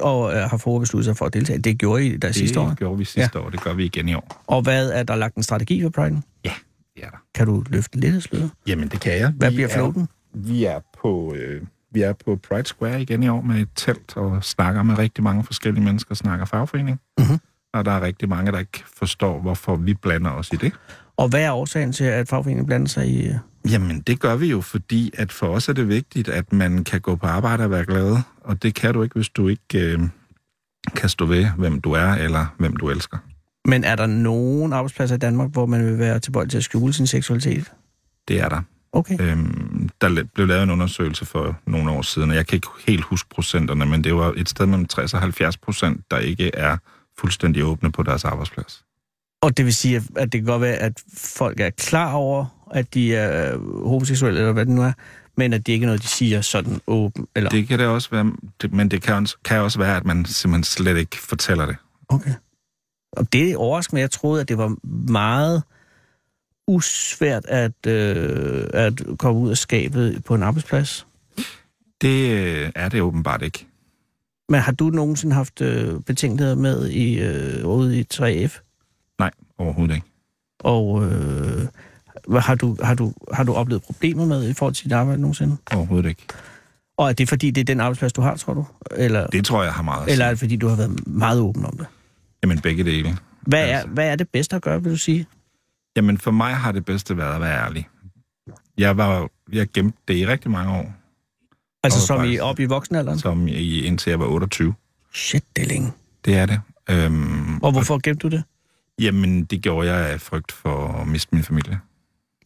Og øh, har forud besluttet sig for at deltage. Det gjorde I der Det sidste år. gjorde vi sidste ja. år. Det gør vi igen i år. Og hvad er der lagt en strategi for Pride? Det er der. Kan du løfte lidt af sløret? Jamen, det kan jeg. Hvad Vi bliver er- floaten? Vi er på... Øh, vi er på Pride Square igen i år med et telt og snakker med rigtig mange forskellige mennesker, snakker fagforening. Mhm. Og der er rigtig mange, der ikke forstår, hvorfor vi blander os i det. Og hvad er årsagen til, at fagforeningen blander sig i... øh, Jamen, det gør vi jo, fordi at for os er det vigtigt, at man kan gå på arbejde og være glad. Og det kan du ikke, hvis du ikke øh, kan stå ved, hvem du er eller hvem du elsker. Men er der nogen arbejdspladser i Danmark, hvor man vil være tilbøjelig til at skjule sin seksualitet? Det er der. Okay. Øhm, der la- blev lavet en undersøgelse for nogle år siden, og jeg kan ikke helt huske procenterne, men det var et sted mellem 60 og 70 procent, der ikke er fuldstændig åbne på deres arbejdsplads. Og det vil sige, at- at det kan godt være, at folk er klar over, at de er øh, homoseksuelle, eller hvad det nu er, men at det ikke er noget, de siger sådan åben. Eller... Det kan det også være, det- men det kan, også- kan også være, at man simpelthen slet ikke fortæller det. Okay. Og det overrasker mig. Jeg troede, at det var meget usvært at, øh, at komme ud af skabet på en arbejdsplads. Det øh, er det åbenbart ikke. Men har du nogensinde haft øh, betingeligheder med i, øh, ude i 3F? Nej, overhovedet ikke. Og øh, hvad har, du, har, du, har du oplevet problemer med i forhold til dit arbejde nogensinde? Overhovedet ikke. Og er det fordi, det er den arbejdsplads, du har, tror du? Eller, Det tror jeg har meget at eller er Eller... det fordi, du har været meget åben om det? Jamen begge dele. Hvad, er, Altså. hvad er det bedste at gøre, vil du sige? Jamen, for mig har det bedste været at være ærlig. Jeg, var, jeg gemte det i rigtig mange år, Altså Og som i faktisk- op i voksenalderen? som i, indtil jeg var 28. Shit, det er længe. Det er det. Øhm, Og hvorfor gemte du det? Jamen, det gjorde jeg af frygt for at miste min familie.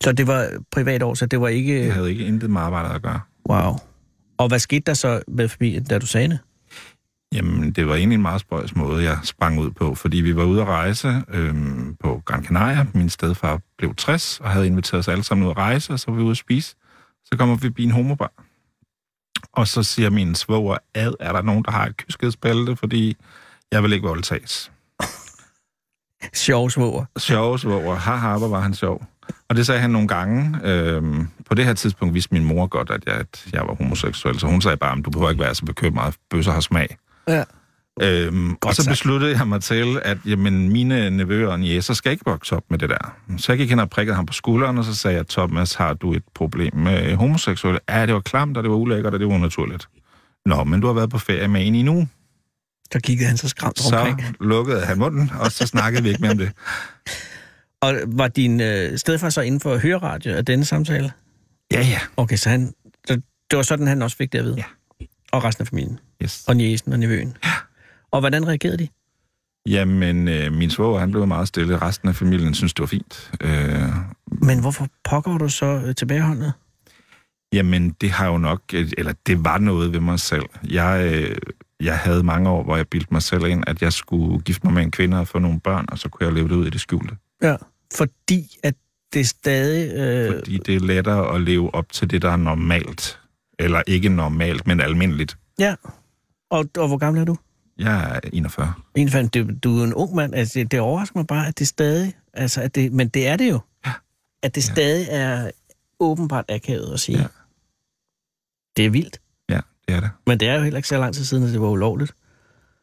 Så det var privat år, så det var ikke... Jeg havde ikke intet med arbejdet at gøre. Wow. Og hvad skete der så med familien, da du sagde det? Jamen, det var egentlig en meget spøjs måde, jeg sprang ud på, fordi vi var ude at rejse øhm, på Gran Canaria. Min stedfar blev 60 og havde inviteret os alle sammen ud at rejse, og så var vi ude at spise. Så kommer vi forbi en homobar. Og så siger min svoger, ad, er der nogen, der har et kyskhedsbælte, fordi jeg vil ikke voldtages. Sjov svoger. Sjove svoger, haha, hvor var han sjov. Og det sagde han nogle gange. Øhm, på det her tidspunkt vidste min mor godt, at jeg, at jeg var homoseksuel, så hun sagde bare, "Men du behøver ikke være så bekymret, bøsser har smag. Ja. Øhm, og så sagt. besluttede jeg mig til, at jamen, mine nevøer og jæser skal ikke vokse op med det der. Så jeg gik hen og prikkede ham på skulderen, og så sagde jeg, Thomas, har du et problem med homoseksuelle? Ja, det var klamt, og det var ulækkert, og det var unaturligt. Nå, men du har været på ferie med en i en uge. Så kiggede han så skræmt Så omkring. lukkede han munden, og så snakkede vi ikke mere om det. Og var din øh, stedfar så inden for høreradio af denne samtale? Ja, ja. Okay, så, han, så det var sådan, han også fik det at vide? Ja. Og resten af familien? Yes. Og niesen og nevøen? Ja. Og hvordan reagerede de? Jamen, øh, min svoger, han blev meget stille. Resten af familien synes, det var fint. Øh, Men hvorfor pokker var du så øh, tilbageholdet? Jamen, det har jo nok, eller det var noget ved mig selv. Jeg, øh, jeg havde mange år, hvor jeg bildte mig selv ind, at jeg skulle gifte mig med en kvinde og få nogle børn, og så kunne jeg leve det ud i det skjulte. Ja. Fordi at det stadig... Øh, Fordi det er lettere at leve op til det, der er normalt. Eller ikke normalt, men almindeligt. Ja. Og, og hvor gammel er du? Jeg er 41. En fandt, du, du er jo en ung mand. Altså, det, det overrasker mig bare, at det stadig... Altså, at det, men det er det jo. Ja. At det stadig er åbenbart akavet at sige. Ja. Ja. Det er vildt. Ja, det er det. Men det er jo heller ikke så lang tid siden, at det var ulovligt.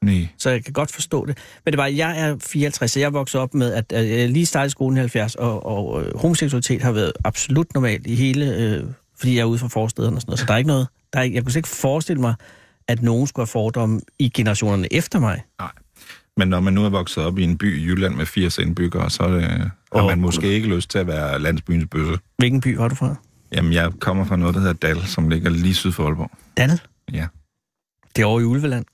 Nej. Så jeg kan godt forstå det. Men det var, jeg er 54, så jeg voksede op med, at, at jeg lige startede i skolen i 70, og, og øh, homoseksualitet har været absolut normalt i hele... Øh, fordi jeg er ude fra forstederne og sådan noget, så der er ikke noget... Der er, ikke- jeg kunne slet ikke forestille mig, at nogen skulle have fordomme i generationerne efter mig. Men når man nu er vokset op i en by i Jylland med 80 indbyggere, så er det, øh, har Åh, man Gud. måske ikke lyst til at være landsbyens bøsse. Hvilken by var du fra? Jamen, jeg kommer fra noget, der hedder Dal, som ligger lige syd for Aalborg. Dal? Ja. Det er over i Ulveland.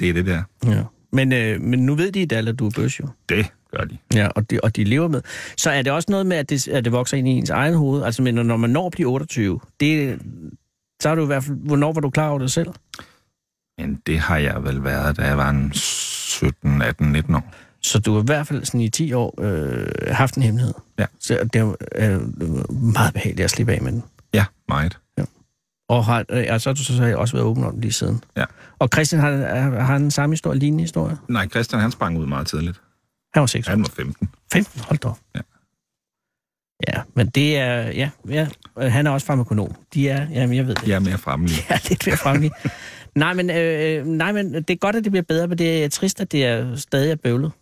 Det er det der. Ja. Men, øh, men nu ved de i Dal, at du er bøs jo. Det gør de. Ja, og de, og de lever med. Så er det også noget med, at det, at det vokser ind i ens egen hoved? Altså, men når man når at blive 28, det, så er du i hvert fald... Hvornår var du klar over det selv? Men det har jeg vel været, da jeg var en 17, 18, 19 år. Så du har i hvert fald sådan i 10 år øh, haft en hemmelighed. Ja. Så det er jo, øh, meget behageligt at slippe af med den. Ja, meget. Og har, øh, og så har du så, så også været åben om det lige siden. Ja. Og Christian har, har- har den samme historie, lignende historie? Nej, Christian han sprang ud meget tidligt. Han var 6 år. Han var 15. 15, hold da. op. Ja. Ja, men det er... Ja, ja, øh, han er også farmakonom. De er... Jamen, jeg ved det. Jeg er mere fremme lige. *laughs* Ja, lidt mere fremme lige. nej, men, øh, nej, men det er godt, at det bliver bedre, men det er trist, at det er stadig er bøvlet.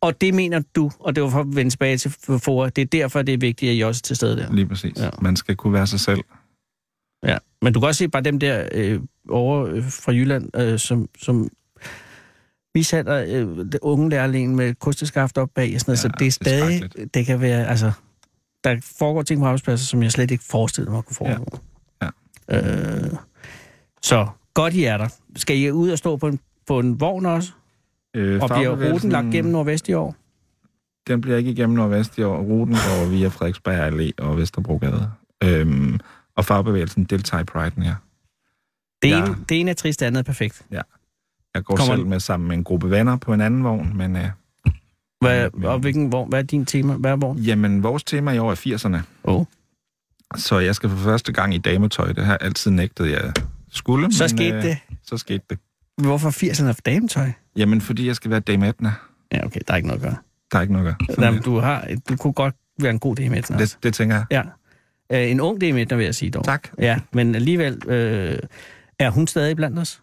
Og det mener du, og det var for at vende tilbage til for, det er derfor, det er vigtigt, at I også er til stede der. Lige præcis. Ja. Ja. Man skal kunne være sig selv. Ja. Men du kan også se bare dem der øh, over øh, fra Jylland, øh, som, som mishandler øh, det unge lærling med kosteskaft op bag, og sådan noget, ja, Ja, så det det er er stadig, det, skrækkeligt. det kan være, altså, der foregår ting på arbejdspladser, som jeg slet ikke forestillede mig at kunne foregå. Ja. Øh, så godt I er der. Skal I ud og stå på en, på en vogn også? Øh, Og bliver ruten fagbevægelsen, lagt gennem Nordvest i år? Den bliver ikke igennem Nordvest i år. Ruten går via Frederiksberg Allé og Vesterbrogade. Øhm, og fagbevægelsen deltager i Pride'en, ja. Det Ja. ene, det ene er trist, det andet er perfekt. Jeg går Kommer- Kommer... selv med sammen med en gruppe venner på en anden vogn, men øh, Hvad, men- og hvilken vogn, hvad er din tema? Hvad er vogn? jamen, vores tema i år er 80'erne. Oh. Så jeg skal for første gang i dametøj. Det har jeg altid nægtet, jeg skulle. Så men, øh, skete det. Så skete det. Hvorfor 80'erne er for dametøj? Jamen, fordi jeg skal være dame Edna. Ja, okay, der er ikke noget at gøre. Der er ikke noget at gøre. Sådan Jamen, lidt. du, har, du kunne godt være en god DM1. Altså. det, det tænker jeg. Ja. Øh, en ung DM1, vil jeg sige dog. Tak. Ja, men alligevel, øh, er hun stadig blandt os?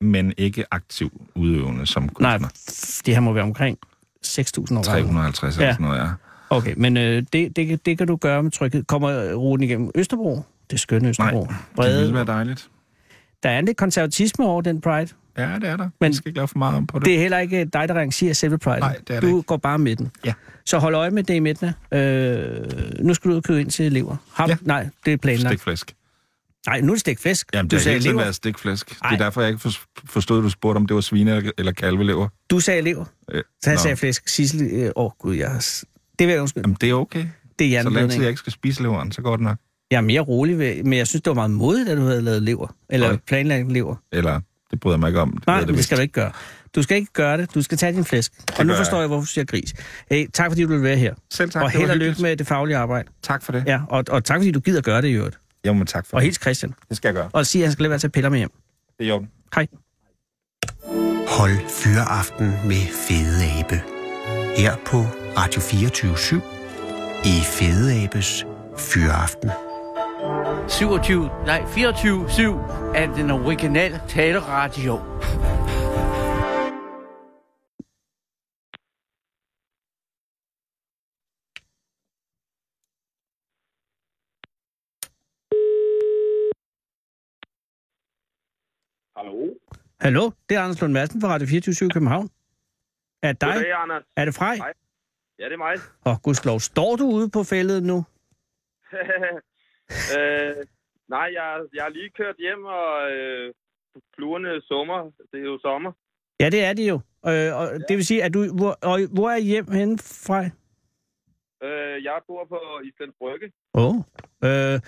Men ikke aktiv udøvende som kunstner. Nej, f- det her må være omkring 6.000 år. 350 eller Ja. sådan noget, ja. Okay, men øh, det, det, kan- det kan du gøre med trykket. Kommer ruten igennem Østerbro? Det skønne Østerbro. Nej, det ville være dejligt. Der er en lidt konservatisme over den Pride. Ja, det er der. Men Men- jeg skal ikke lave for meget om på det. Det er heller ikke dig, der arrangerer selve Pride. Nej, det er det Du ikke. går bare med den. Ja. Så hold øje med det i midten. af. Øh, nu skal du ud og købe ind til lever. Ham? Ja. Nej, det er planlagt. Stikflæsk. Nej, nu er det stikflæsk. Jamen, du det har sagde hele tiden lever. været stikflæsk. Ej. Det er derfor, jeg ikke for- forstod, at du spurgte, om det var svine eller- eller kalvelever. Du sagde lever. Øh, Så han nå. sagde flæsk. Sissel, øh, åh gud, jeg har... s- Det vil jeg undskylde. Jamen, det er okay. Det er Så længe til jeg hjerneblødning. ikke skal spise leveren, så går det nok. Jeg er mere rolig, ved, men jeg synes, det var meget modigt, at du havde lavet lever. Eller Oj. planlagt lever. Eller, det bryder jeg mig ikke om. Det Nej, ved jeg det, det vist. skal du ikke gøre. Du skal ikke gøre det. Du skal tage din flæsk. og nu gør forstår jeg. jeg, hvorfor du siger gris. Hey, tak fordi du vil være her. Selv tak. og det var held og lykke hyggeligt. med det faglige arbejde. Tak for det. Ja. Ja, og, og tak fordi du gider gøre det i øvrigt. Jamen, tak for Og det. helt Christian. Det skal jeg gøre. Og sige, at han skal lade være til at tage piller med hjem. Det er i orden. Hej. Hold fyreaften med Fede Abe. Her på Radio 24 i Fede Abes Fyreaften. 27, nej 24-7 af den originale taleradio. Hallo? Hallo, det er Anders Lund Madsen fra Radio 24 København. Er det dig? Goddag, Anders. Er det Frej? Hej. Ja, det er mig. *laughs* Åh, gudslov, står du ude på fældet nu? øh, nej, jeg, jeg har lige kørt hjem, og øh, fluerne summer. Det er jo sommer. Ja, det er det jo. Øh, og det vil sige, at du... Hvor, og, hvor er hjem henne, Frej? Øh, jeg bor på Islands Brygge. Åh. Oh. Øh,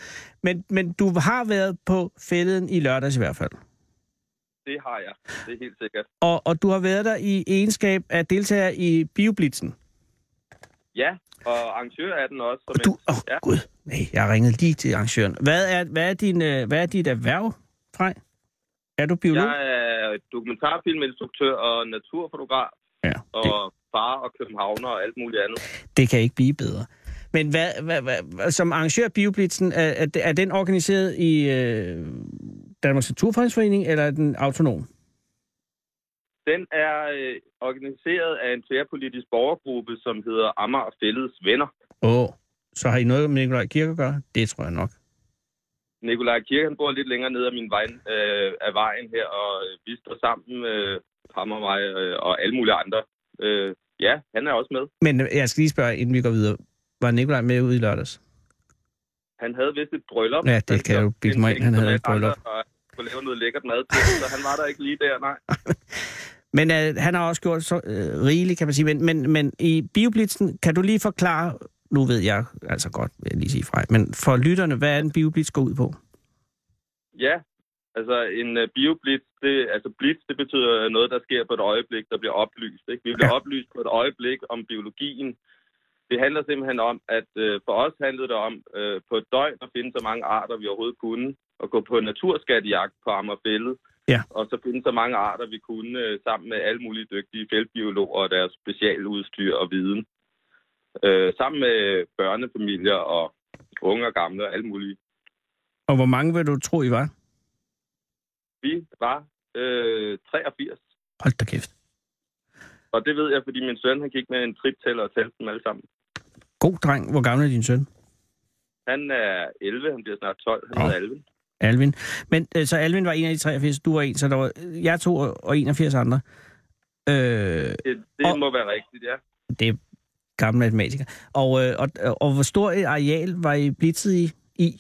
men, men du har været på fælden i lørdags i hvert fald. Det har jeg. Det er helt sikkert. Og, og du har været der i egenskab af deltager i Bioblitzen. Ja, og arrangør er den også. Som Og du... en- Åh, oh, Ja. gud. Nej, jeg ringede lige til arrangøren. Hvad er, hvad er, din, øh, hvad er dit erhverv, Frej? Er du biolog? Jeg er dokumentarfilminstruktør og naturfotograf. Ja, Og far og københavner og alt muligt andet. Det kan ikke blive bedre. Men hvad, hvad, hvad, hvad som arrangør Bioblitzen, er, er, er den organiseret i øh, Danmarks Naturfredningsforening, eller er den autonom? Den er øh, organiseret af en tværpolitisk borgergruppe, som hedder Amager Fælles Venner. Åh, oh, så har I noget med Nikolaj Kirke at gøre? Det tror jeg nok. Nikolaj Kirk, han bor lidt længere nede af, min vej, øh, af vejen her, og øh, vi står sammen, øh, ham og mig øh, og alle mulige andre. Øh, ja, han er også med. Men øh, jeg skal lige spørge, inden vi går videre. Var Nikolaj med ude i lørdags? Han havde vist et bryllup. Ja, det kan jeg jo bilde mig ind, han havde et bryllup. Og lave noget lækkert mad til, så han var der ikke lige der, nej. *laughs* Men øh, han har også gjort så øh, rigeligt, kan man sige. Men, men, men i Bioblitzen, kan du lige forklare, nu ved jeg altså godt, vil jeg lige sige fra, men for lytterne, hvad er en Bioblitz går ud på? Ja, altså en uh, bioblitz, det, altså blitz, det betyder noget, der sker på et øjeblik, der bliver oplyst. Ikke? Vi bliver Ja. ja. oplyst på et øjeblik om biologien. Det handler simpelthen om, at øh, for os handlede det om øh, på et døgn at finde så mange arter, vi overhovedet kunne, og gå på naturskattejagt på Ammerfælde, Ja. og så finde så mange arter, vi kunne, øh, sammen med alle mulige dygtige feltbiologer og deres specialudstyr og viden. Øh, sammen med børnefamilier og unge og gamle og alle mulige. Og hvor mange vil du tro, I var? Vi var øh, 83. Hold da kæft. Og det ved jeg, fordi min søn han gik med en triptæller og talte dem alle sammen. God dreng. Hvor gammel er din søn? Han er 11, han bliver snart 12, han Nå. hedder Alvin. Alvin. Men øh, så Alvin var en af de 83, du var en, så der var øh, jeg to og- og 81 andre. Øh, Det, det Og- må være rigtigt, ja. det er gamle matematikere. Og, øh, og, og hvor stor et areal var I blitzet i? i?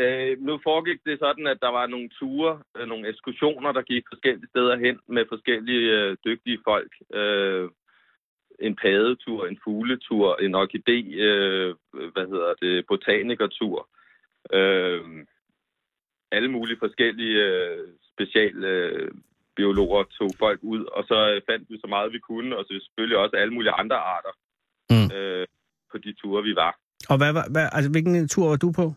Øh, nu foregik det sådan, at der var nogle ture, øh, nogle ekskursioner, *laughs* der gik forskellige steder hen med forskellige øh, dygtige folk. Øh, en padetur, en fugletur, en orkidé, øh, hvad hedder det, botanikertur. Øh, alle mulige forskellige øh, specialbiologer øh, tog folk ud, og så øh, fandt vi så meget, vi kunne, og så selvfølgelig også alle mulige andre arter Mm. øh, på de ture, vi var. Og hvad, var- hvad, altså, hvilken tur var du på?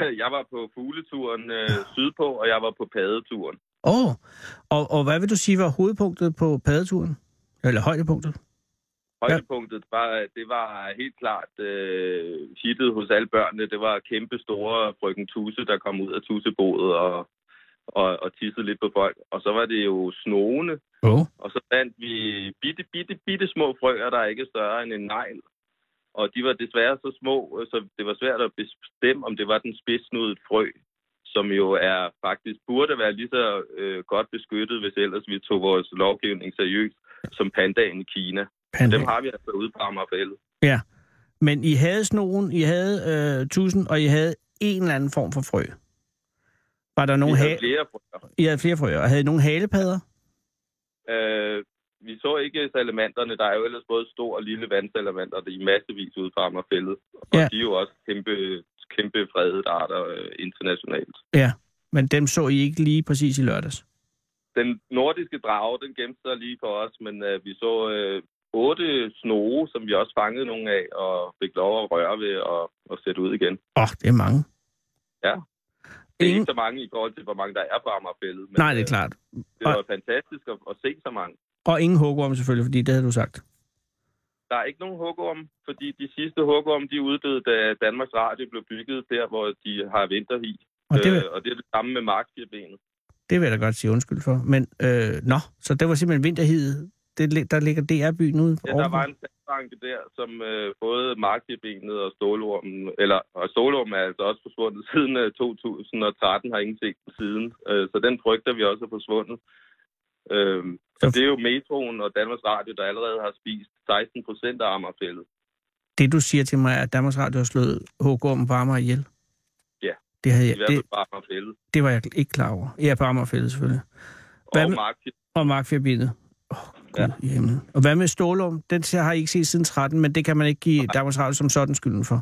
Jeg var på fugleturen øh, sydpå, og jeg var på padeturen. Åh, oh. og, og hvad vil du sige var hovedpunktet på padeturen? Eller højdepunktet? Højdepunktet var, det var helt klart øh, hittet hos alle børnene. Det var kæmpe store frøken Tusse, der kom ud af tussebodet og, og, og tissede lidt på folk. Og så var det jo snoende, Åh. Oh. og så fandt vi bitte, bitte, bitte små frøer, der er ikke større end en negl. Og de var desværre så små, øh, så det var svært at bestemme, om det var den spidsnudede frø, som som jo er faktisk burde være lige så øh, godt beskyttet, hvis ellers vi tog vores lovgivning seriøst, som pandaen i Kina. Panda. Dem har vi altså ude på Amagerfældet. Ja. Men I havde snogen, I havde øh, tusind, og I havde en eller anden form for frø. Var der Vi nogen havde ha- flere frøer. I havde flere frøer, og havde I nogen halepadder? Øh, vi så ikke salamanderne. Der er jo ellers både stor og lille vandsalamander, der er massevis ude på Amagerfældet. Og Ja. de er jo også kæmpe, kæmpe fredet arter øh, internationalt. Ja, men dem så I ikke lige præcis i lørdags. Den nordiske drage, den gemte sig lige for os, men øh, vi så øh, otte snoge, som vi også fangede nogle af, og fik lov at røre ved og, og sætte ud igen. Åh, oh, det er mange. Ja. Det er Ingen... ikke så mange i forhold til, hvor mange der er på Amagerfældet. Men, Nej, det er øh, klart. Det var fantastisk at, at se så mange. Og ingen hugorm selvfølgelig, fordi det havde du sagt. Der er ikke nogen hugorm, fordi de sidste hugorm, de uddøde, da Danmarks Radio blev bygget der, hvor de har vinterhi. Og det, vil, øh, og det er det samme med markirbenet. det vil jeg da godt sige undskyld for. Men, øh, nå, så det var simpelthen vinterhidet. Det, lig- der ligger DR-byen ude på Ja, der var en sandbanke der, som øh, både markirbenet og stålormen, eller og stålormen er altså også forsvundet siden øh, 2013, har ingen set den siden. Øh, så den frygter vi også er forsvundet. Øh, så Så- det er jo metroen og Danmarks Radio, der allerede har spist 16 procent af Amagerfældet. Det, du siger til mig, er, at Danmarks Radio har slået hugormen på Amager ihjel. Ja. Det, havde I jeg, hvert det, fald bare Amagerfældet. det var jeg ikke klar over. Ja, på Amagerfældet selvfølgelig. Hvad Og med- mark Og markfjerdbindet. Ja. Oh, ja. Og hvad med Stålum? Den ser- har I ikke set siden 13, men det kan man ikke give Danmarks Radio som sådan skylden for.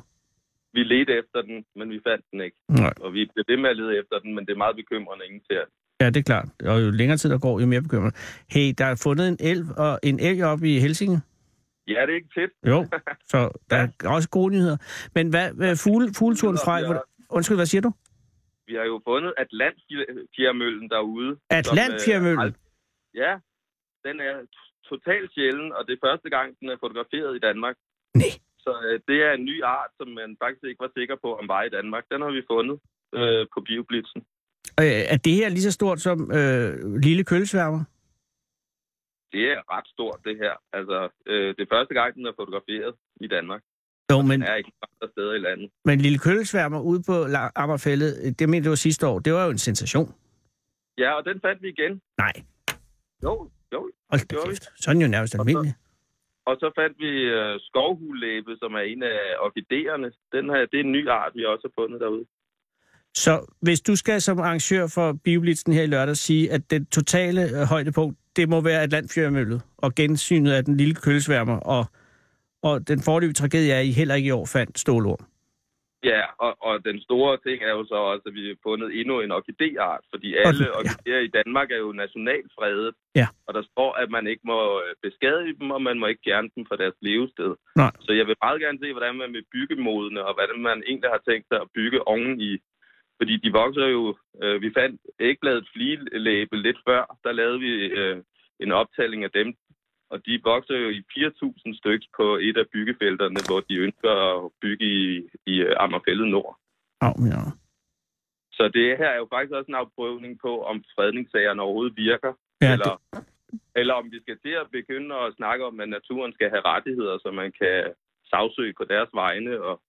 Vi ledte efter den, men vi fandt den ikke. Nej. Og vi bliver ved med at lede efter den, men det er meget bekymrende, ingen ser. Ja, det er klart. Og jo længere tid der går, jo mere bekymrende. Hey, der er fundet en elv og en elg oppe i Helsinge. Ja, det er ikke tæt. *laughs* Jo, så der er også gode nyheder. Men hvad, hvad fugle, fugleturen fra... Hvor, undskyld, hvad siger du? Vi har jo fundet Atlantfjermøllen derude. som, øh, Atlantfjermøllen? ald- Ja, den er t- totalt sjælden, og det er første gang, den er fotograferet i Danmark. Nej. Så øh, det er en ny art, som man faktisk ikke var sikker på, om var i Danmark. Den har vi fundet øh, på Bioblitzen. Øh, er det her lige så stort som øh, lille kølesværmer? Det er ret stort, det her. Altså, øh, det er første gang, den er fotograferet i Danmark. Jo, men, Den er ikke andre steder i landet. men lille kølesværmer ude på La- Amagerfællet, øh, det mener det var sidste år, det var jo en sensation. Ja, og den fandt vi igen. Nej, Jo, jo. hold da Gjorde vi? kæft. Sådan er jo nærmest almindelig. Og så fandt vi øh, skovhulæbe, som er en af orkideerne. Den her, det er en ny art, vi også har fundet derude. Så hvis du skal som arrangør for Bioblitzen her i lørdag sige, at det totale øh, højdepunkt, det må være Atlantfjørmøllet og gensynet af den lille kølesværmer, og, og den forløbige tragedie er, at I heller ikke i år fandt stålorm. Ja, og, og den store ting er jo så også, at vi har fundet endnu en orkideart, fordi alle ja. orkideer i Danmark er jo nationalt fredet. Ja. Og der står, at man ikke må øh, beskadige dem, og man må ikke fjerne dem fra deres levested. Nej. Så jeg vil meget gerne se, hvordan man vil bygge modne, og hvordan man egentlig har tænkt sig at bygge oven i. Fordi de vokser jo... Øh, vi fandt ægbladet fligelæbe lidt før. Der lavede vi øh, en optælling af dem. Og de vokser jo i 4.000 stykker på et af byggefelterne, hvor de ønsker at bygge i, i øh, Amagerfællet Nord. Oh, ja. Så det her er jo faktisk også en afprøvning på, om fredningssagerne overhovedet virker. Ja, eller, eller om vi skal til at begynde at snakke om, at naturen skal have rettigheder, så man kan sagsøge på deres vegne, og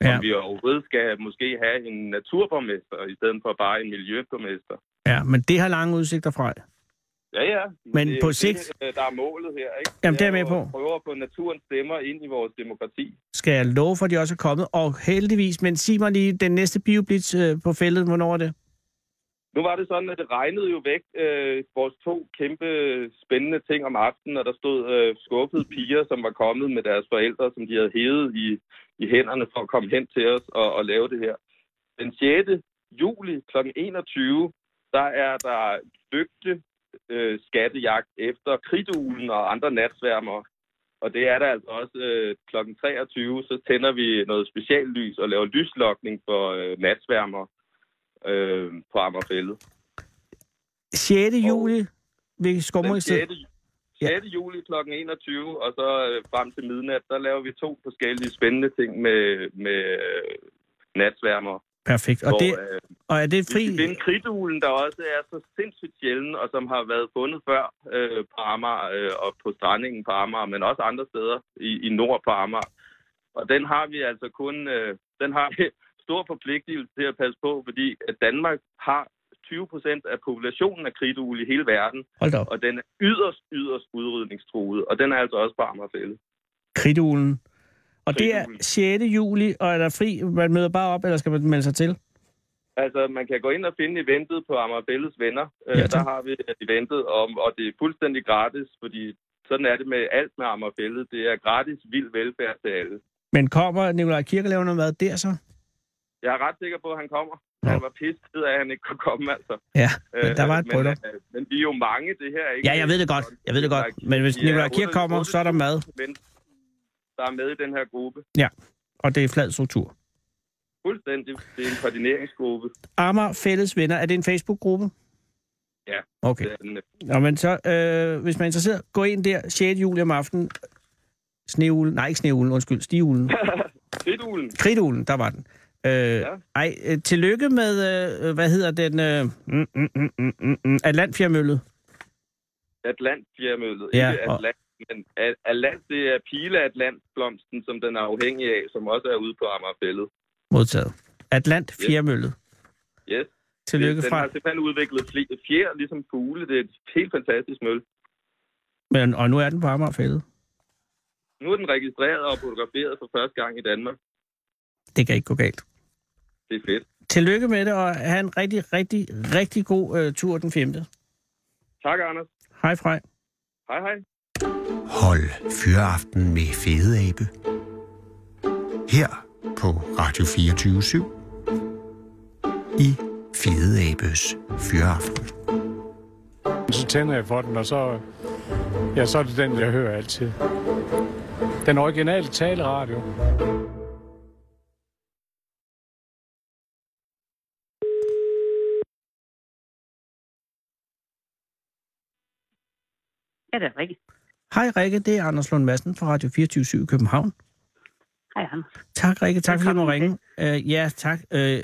ja. Ja. om vi overhovedet skal måske have en naturborgmester, i stedet for bare en miljøborgmester. ja, men det har lange udsigter fra. Ja, ja. Men det, er på jo sigt- Det, der er målet her, ikke? Jamen, det er jo jeg med på. at prøve at få naturens stemmer ind i vores demokrati. Skal jeg love for, at de også er kommet, og heldigvis, men sig mig lige, den næste Bioblitz øh, på fældet, hvornår er det? Nu var det sådan, at det regnede jo væk øh, vores to kæmpe spændende ting om aftenen, og der stod øh, skuffede piger, som var kommet med deres forældre, som de havde hævet i, i hænderne for at komme hen til os og, og lave det her. Den 6. juli kl. 21, der er der lygte øh, skattejagt efter kridulen og andre natsværmer. Og det er der altså også øh, kl. 23, så tænder vi noget speciallys og laver lyslokning for øh, natsværmer øh, på Amagerfællet. 6. juli ved Den Skovmøgsted. 6. 6. juli kl. 21, og så øh, frem til midnat, der laver vi to forskellige spændende ting med, med øh, natsværmer. Perfekt. Og, hvor, det, øh, og er det vi skal fri? finde kridulen, der også er så sindssygt sjælden, og som har været fundet før øh, på Amager øh, og på strandingen på Amager, men også andre steder i, i nord på Amager. Og den har vi *laughs* altså kun... Øh, den har vi stor forpligtelse til at passe på, fordi at Danmark har 20 procent af populationen af kridtugle i hele verden, Hold da op. og den er yderst, yderst udrydningstruet, og den er altså også på Amagerfælde. Kridtulen. Og det er Kridtulen. 6. juli, og er der fri? Man møder bare op, eller skal man melde sig til? Altså, man kan gå ind og finde eventet på Amagerbælles Venner. Ja, Ja, tak. der har vi eventet, og, og det er fuldstændig gratis, fordi sådan er det med alt med Amagerbælle. Det er gratis vild velfærd til alle. Men kommer Nikolaj Kirkelave noget mad der så? Jeg er ret sikker på, at han kommer. Nå. Han var pisset af, at han ikke kunne komme, altså. Ja, men Øh, der var et men, bryllup. øh, men vi er jo mange, det her, ikke? Ja, jeg ved det godt. Jeg ved det godt. Men hvis Nikolaj Kirk kommer, så er der mad, Men der er med i den her gruppe. og det er flad struktur. Fuldstændig. Det er en koordineringsgruppe. Amager Fælles Venner, er det en Facebook-gruppe? Ja. Okay. Det er den, øh, Nå, men så, øh, hvis man er interesseret, gå ind der 6. juli om aftenen. Sneulen, nej ikke sneulen, undskyld, stiulen. Fedulen. Kridtulen, der var den. Øh, ja. Ej, øh, tillykke med, øh, hvad hedder den, øh, mm, mm, mm, mm, mm, mm, Atlantfjermøllet. Atlantfjermøllet. Ja, Ja, ikke og- Atlant, men A- Atlant, det er pileatlantblomsten, som den er afhængig af, som også er ude på Amagerfællet. Modtaget. Atlantfjermøllet. Yes. Tillykke den fra, har simpelthen udviklet fli- fjer, ligesom fugle. Det er et helt fantastisk møl. men, og nu er den på Amagerfældet. Nu er den registreret og fotograferet for første gang i Danmark. Det kan ikke gå galt. Det er fedt. Tillykke med det, og have en rigtig, rigtig, rigtig god øh, tur den 5. Tak, Anders. Hej fra. Hej, hej. Hold Fyraften med Fede Abe. Her på Radio 24 I Fede Abes Fyraften. Så tænder jeg for den, og så, ja, så er det den, jeg hører altid. Den originale taleradio. Ja, det er rigtigt. Hej Rikke, det er Anders Lund Madsen fra Radio 24 i København. Hej, Anders. Tak Rikke, tak fordi du må ringe. Velkommen Øh, ja, tak. Øh,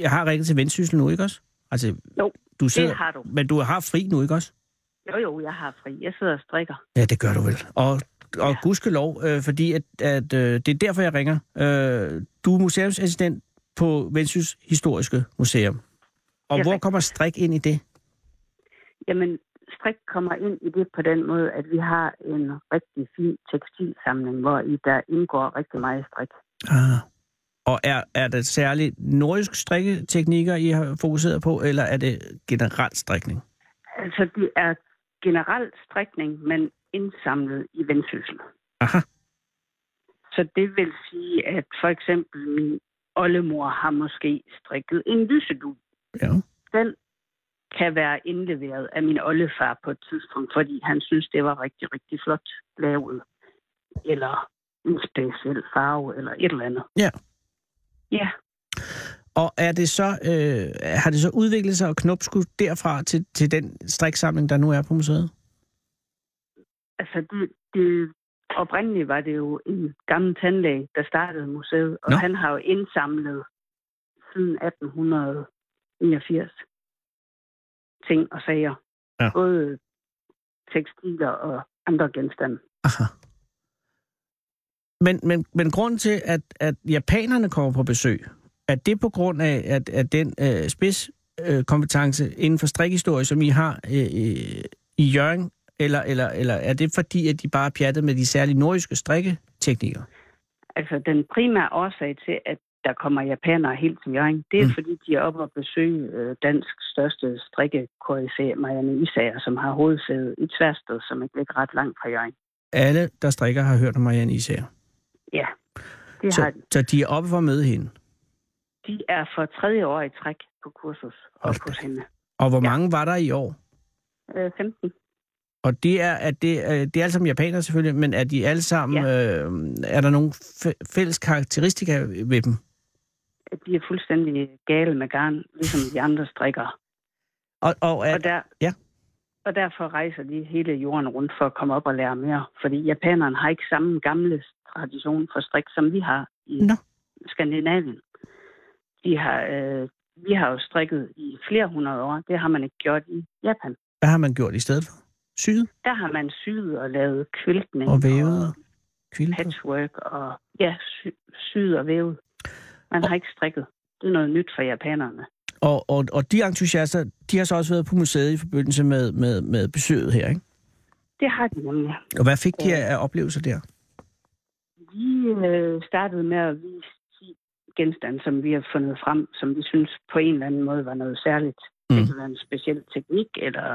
jeg har ringet til vendsyssel nu, ikke også? Altså, Jo, du sidder, det har du. Men du har fri nu, ikke også? Jo, jo, jeg har fri. Jeg sidder og strikker. Ja, det gør du vel. Og, og gudskelov, øh, fordi at, at, øh, det er derfor, jeg ringer. Øh, du er museumsassistent på Vendsyssel Historiske Museum. Og Det er hvor rigtigt. kommer strik ind i det? Jamen, strik kommer ind i det på den måde, at vi har en rigtig fin tekstilsamling, hvor i der indgår rigtig meget strik. Ah. Og er, er det særligt nordisk strikketeknikker, I har fokuseret på, eller er det generelt strikning? Altså, det er generelt strikning, men indsamlet i vendsyssel. Aha. Så det vil sige, at for eksempel min oldemor har måske strikket en lysedu. Ja. Den kan være indleveret af min oldefar på et tidspunkt, fordi han synes, det var rigtig, rigtig flot lavet. Eller en speciel farve, eller et eller andet. Ja. Ja, Og er det så, øh, har det så udviklet sig og knopskudt derfra til, til den striksamling, der nu er på museet? altså det, det oprindeligt var det jo en gammel tandlæge, der startede museet, og Nå. Nå. han har jo indsamlet siden 1889 ting og sager. Ja. Både tekstiler og andre genstande. Aha. Men, men, men grunden til, at, at japanerne kommer på besøg, er det på grund af, at, at den øh, spidskompetence øh, kompetence inden for strikhistorie, som I har øh, øh, i Jørgen, eller, eller, eller er det fordi, at de bare pjattede med de særlige nordiske strikketeknikker? Altså den primære årsag til, at der kommer japanere helt til Jørgen, det er Mm. mm. fordi, de er oppe og besøge øh, dansk største strikkekoryfæ, Marianne Isager, som har hovedsædet i Tværsted, som ikke ligger ret langt fra Jørgen. Alle, der strikker, har hørt om Marianne Isager. Ja, det har Så, de. så de er oppe for at møde hende. De er for tredje år i træk på kursus og Hold da. hos hende. Og hvor mange var der i år? Øh, 15. Og det er, at det, øh, det er alle sammen japanere selvfølgelig, men er de alle sammen, ja. øh, er der nogle fæ- fælles karakteristika ved dem? De er fuldstændig gale med garn, ligesom de andre strikkere. Og, og, er, Og, der, ja. og derfor rejser de hele jorden rundt for at komme op og lære mere. Fordi japanerne har ikke samme gamle tradition for strik, som vi har i Nå. Nå. Skandinavien. De har, øh, vi har jo strikket i flere hundrede år. Det har man ikke gjort i Japan. hvad har man gjort i stedet for? Syet Der har man syet og lavet Mm. kviltning og vævet? Kviltet? patchwork og ja, sy- syet og vævet. Man har ikke strikket. Det er noget nyt for japanerne. Og, og, og de entusiaster, de har så også været på museet i forbindelse med, med, med besøget her, ikke? Det har de nemlig. Og hvad fik de af af oplevelser der? Vi øh, startede med at vise 10 genstande, som vi har fundet frem, som vi synes på en eller anden måde var noget særligt. Mm. Mm. Det kan være en speciel teknik, eller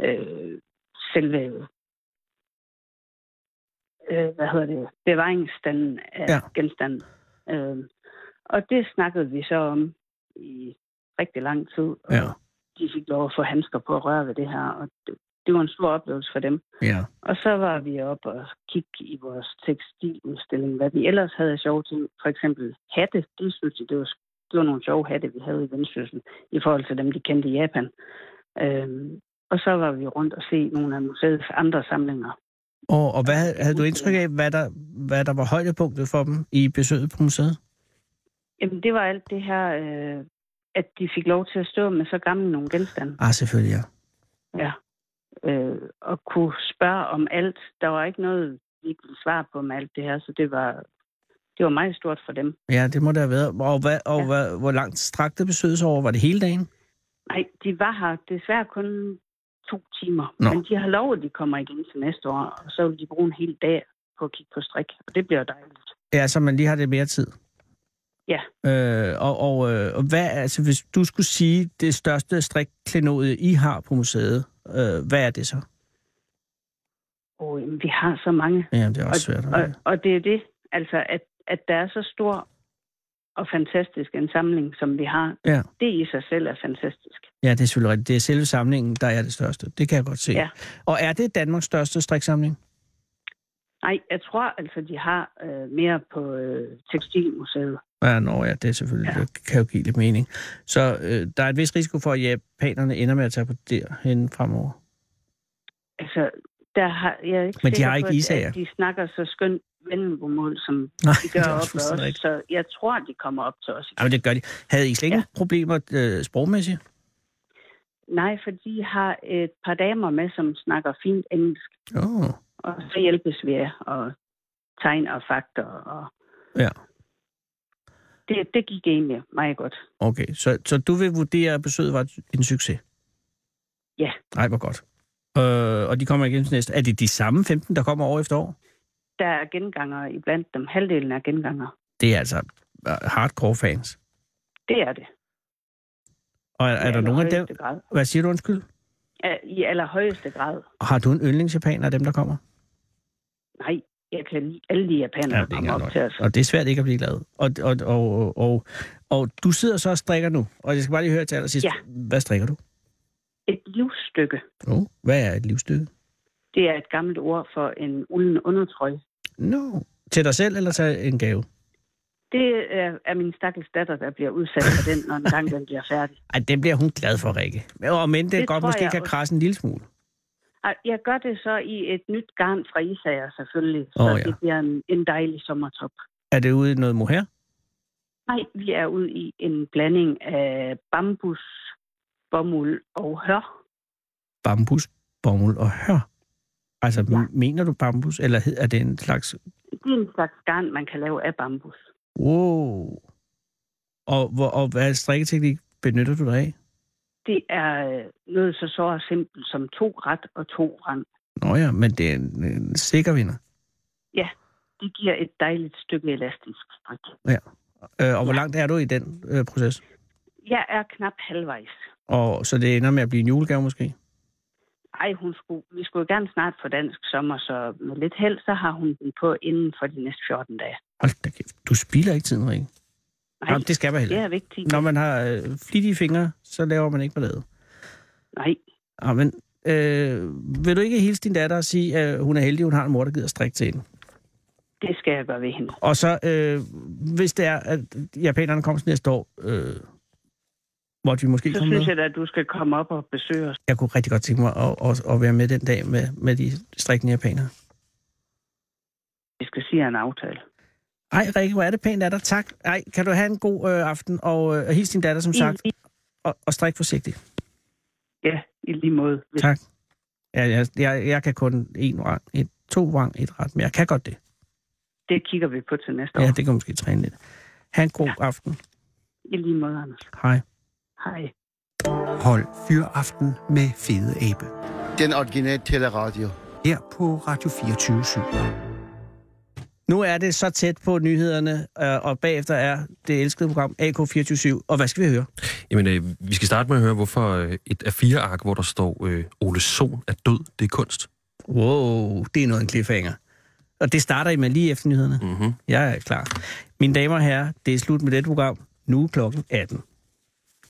øh, selve øh, hvad hedder det, bevaringsstanden af Ja. ja. genstanden. Øh, og det snakkede vi så om i rigtig lang tid. og Ja. De fik lov at få handsker på at røre ved det her, og det, det var en stor oplevelse for dem. Ja. Og så var vi op og kigge i vores tekstiludstilling, hvad vi ellers havde af sjove ting. For eksempel hatte, det synes jeg, det var, det var nogle sjove hatte, vi havde i Vendsyssel, i forhold til dem, de kendte i Japan. Øhm, og så var vi rundt og se nogle af museets andre samlinger. Og, og hvad havde du indtryk af, hvad der, hvad der var højdepunktet for dem i besøget på museet? Jamen, det var alt det her, øh, at de fik lov til at stå med så gamle nogle genstande. Ah, selvfølgelig, ja. Ja. Øh, og kunne spørge om alt. Der var ikke noget, vi ikke ville svare på med alt det her, så det var, det var meget stort for dem. Ja, det må det have været. Og, hvad, og ja. Ja. hvad, hvor langt strakte besøget sig over? Var det hele dagen? Nej, de var her desværre kun to timer. Nå. Nå. Men de har lovet, at de kommer igen til næste år, og så vil de bruge en hel dag på at kigge på strik. Og det bliver dejligt. Ja, så man lige har lidt mere tid. Ja. Øh, og, og, øh, og hvad, altså, hvis du skulle sige det største strikklenod, I har på museet, øh, hvad er det så? Og jamen, vi har så mange. Ja, det er også og, svært. og, og det er det, altså, at, at der er så stor og fantastisk en samling, som vi har. Ja. Det i sig selv er fantastisk. Ja, det er selvfølgelig rigtigt. Det er selve samlingen, der er det største. Det kan jeg godt se. Ja. Og er det Danmarks største striksamling? Nej, jeg tror altså, de har øh, mere på øh, Tekstilmuseet. Ja, nå ja, det er selvfølgelig, ja. det kan jo give lidt mening. Så øh, der er et vis risiko for, at japanerne ender med at tage på derhen fremover. Altså, der har, jeg er ikke Men de sikker har ikke på, at- isager. at de snakker så skønt vendelbomål, som Nej, de *laughs* det gør er op også til fuldstændig os. rigtigt. Så jeg tror, de kommer op til os. Jamen, det gør de. Havde I slet ikke ja. problemer øh, sprogmæssigt? Nej, for de har et par damer med, som snakker fint engelsk, Oh. og så hjælpes vi af og tegn og fakter. Og Ja, det, det gik egentlig meget godt. okay. Så, så du vil vurdere, at besøget var en succes? Ja. Nej, hvor godt. Øh, og de kommer igen til næste. Er det de samme 15, der kommer år efter år? Der er genganger i blandt dem. Halvdelen er genganger. Det er altså øh, hardcore fans. Det er det. Og er, er I der nogen af dem? allerhøjeste Grad. Hvad siger du undskyld? Ja, I allerhøjeste grad. Og Har du en yndlingsjapaner af dem, der kommer? Nej, jeg kan lide alle de japanere, der det er kommer ikke op til os. Og det er svært ikke at blive glad. Og, og, og, og, og, og du sidder så og strikker nu. Og jeg skal bare lige høre til allersidst. Ja. Hvad strikker du? Et livsstykke. Oh, hvad er et livsstykke? Det er et gammelt ord for en ulden undertrøje. No. Til dig selv, eller til en gave? Det er, er min stakkels datter, der bliver udsat for den, når en gang den bliver færdig. Ej, det bliver hun glad for, Rikke. Og men det, Det godt tror måske jeg kan også. krasse en lille smule. Ej, Jeg gør det så i et nyt garn fra Isager selvfølgelig, så Åh, ja. det bliver en, en dejlig sommertop. Er det ude i noget mohair? Nej, vi er ude i en blanding af bambus, bomuld og hør. Bambus, bomuld og hør. Altså, ja. mener du bambus, eller hed- er det en slags... Det er en slags garn, man kan lave af bambus. Wow. Og, hvor, og hvad strikketeknik benytter du dig af? Det er øh, noget så så simpelt som to ret og to rand. Nå ja, men det er en, en sikker vinder. Det giver et dejligt stykke elastisk strik. Øh, og hvor langt er du i den øh, proces? Jeg er knap halvvejs. Og så det ender med at blive en julegave måske? Ej, hun skulle, vi skulle jo gerne snart få dansk sommer, så med lidt held, så har hun den på inden for de næste 14 dage. Hold da kæft, du spilder ikke tiden, Rikke. Nej, Nå, det skal det man heller er ikke. vigtigt. Når man har øh, flittige fingre, så laver man ikke ballade. Nej, Ja, men øh, vil du ikke hilse din datter og sige, at hun er heldig, hun har en mor, der gider strikke til hende? det skal jeg gøre ved hende. Og så, øh, hvis det er, at japanerne kommer til næste år, øh, måtte vi måske Så komme med? synes jeg da, at du skal komme op og besøge os. Jeg kunne rigtig godt tænke mig at, at, at være med den dag med, med de strikkende japanere. Vi skal sige en aftale. Ej, Rikke, hvor er det pænt af dig. Tak. Ej, kan du have en god øh, aften, og øh, hils din datter, som sagt, I, i, og, og strik forsigtigt. ja, i lige måde. Hvis Tak. Ja, jeg, jeg, jeg kan kun en vrang, et, to vrang, et ret, men jeg kan godt det. Det kigger vi på til næste Ja, år. det kan måske træne lidt. Ha' en god aften. I lige måde, Anders. Hej. Hej. Hold Fyraften med Fede Abe. Den originale teleradio. Her på Radio 24 7. Nu er det så tæt på nyhederne, øh, og bagefter er det elskede program AK247. Og hvad skal vi høre? Jamen, øh, vi skal starte med at høre, hvorfor øh, et af fire ark, hvor der står øh, Ole Sohn er død, det er kunst. Wow, det er noget af en cliffhanger. Og det starter I med lige efter nyhederne. Mm-hmm. Jeg er klar. Mine damer og herrer, det er slut med dette program. Nu er klokken 18.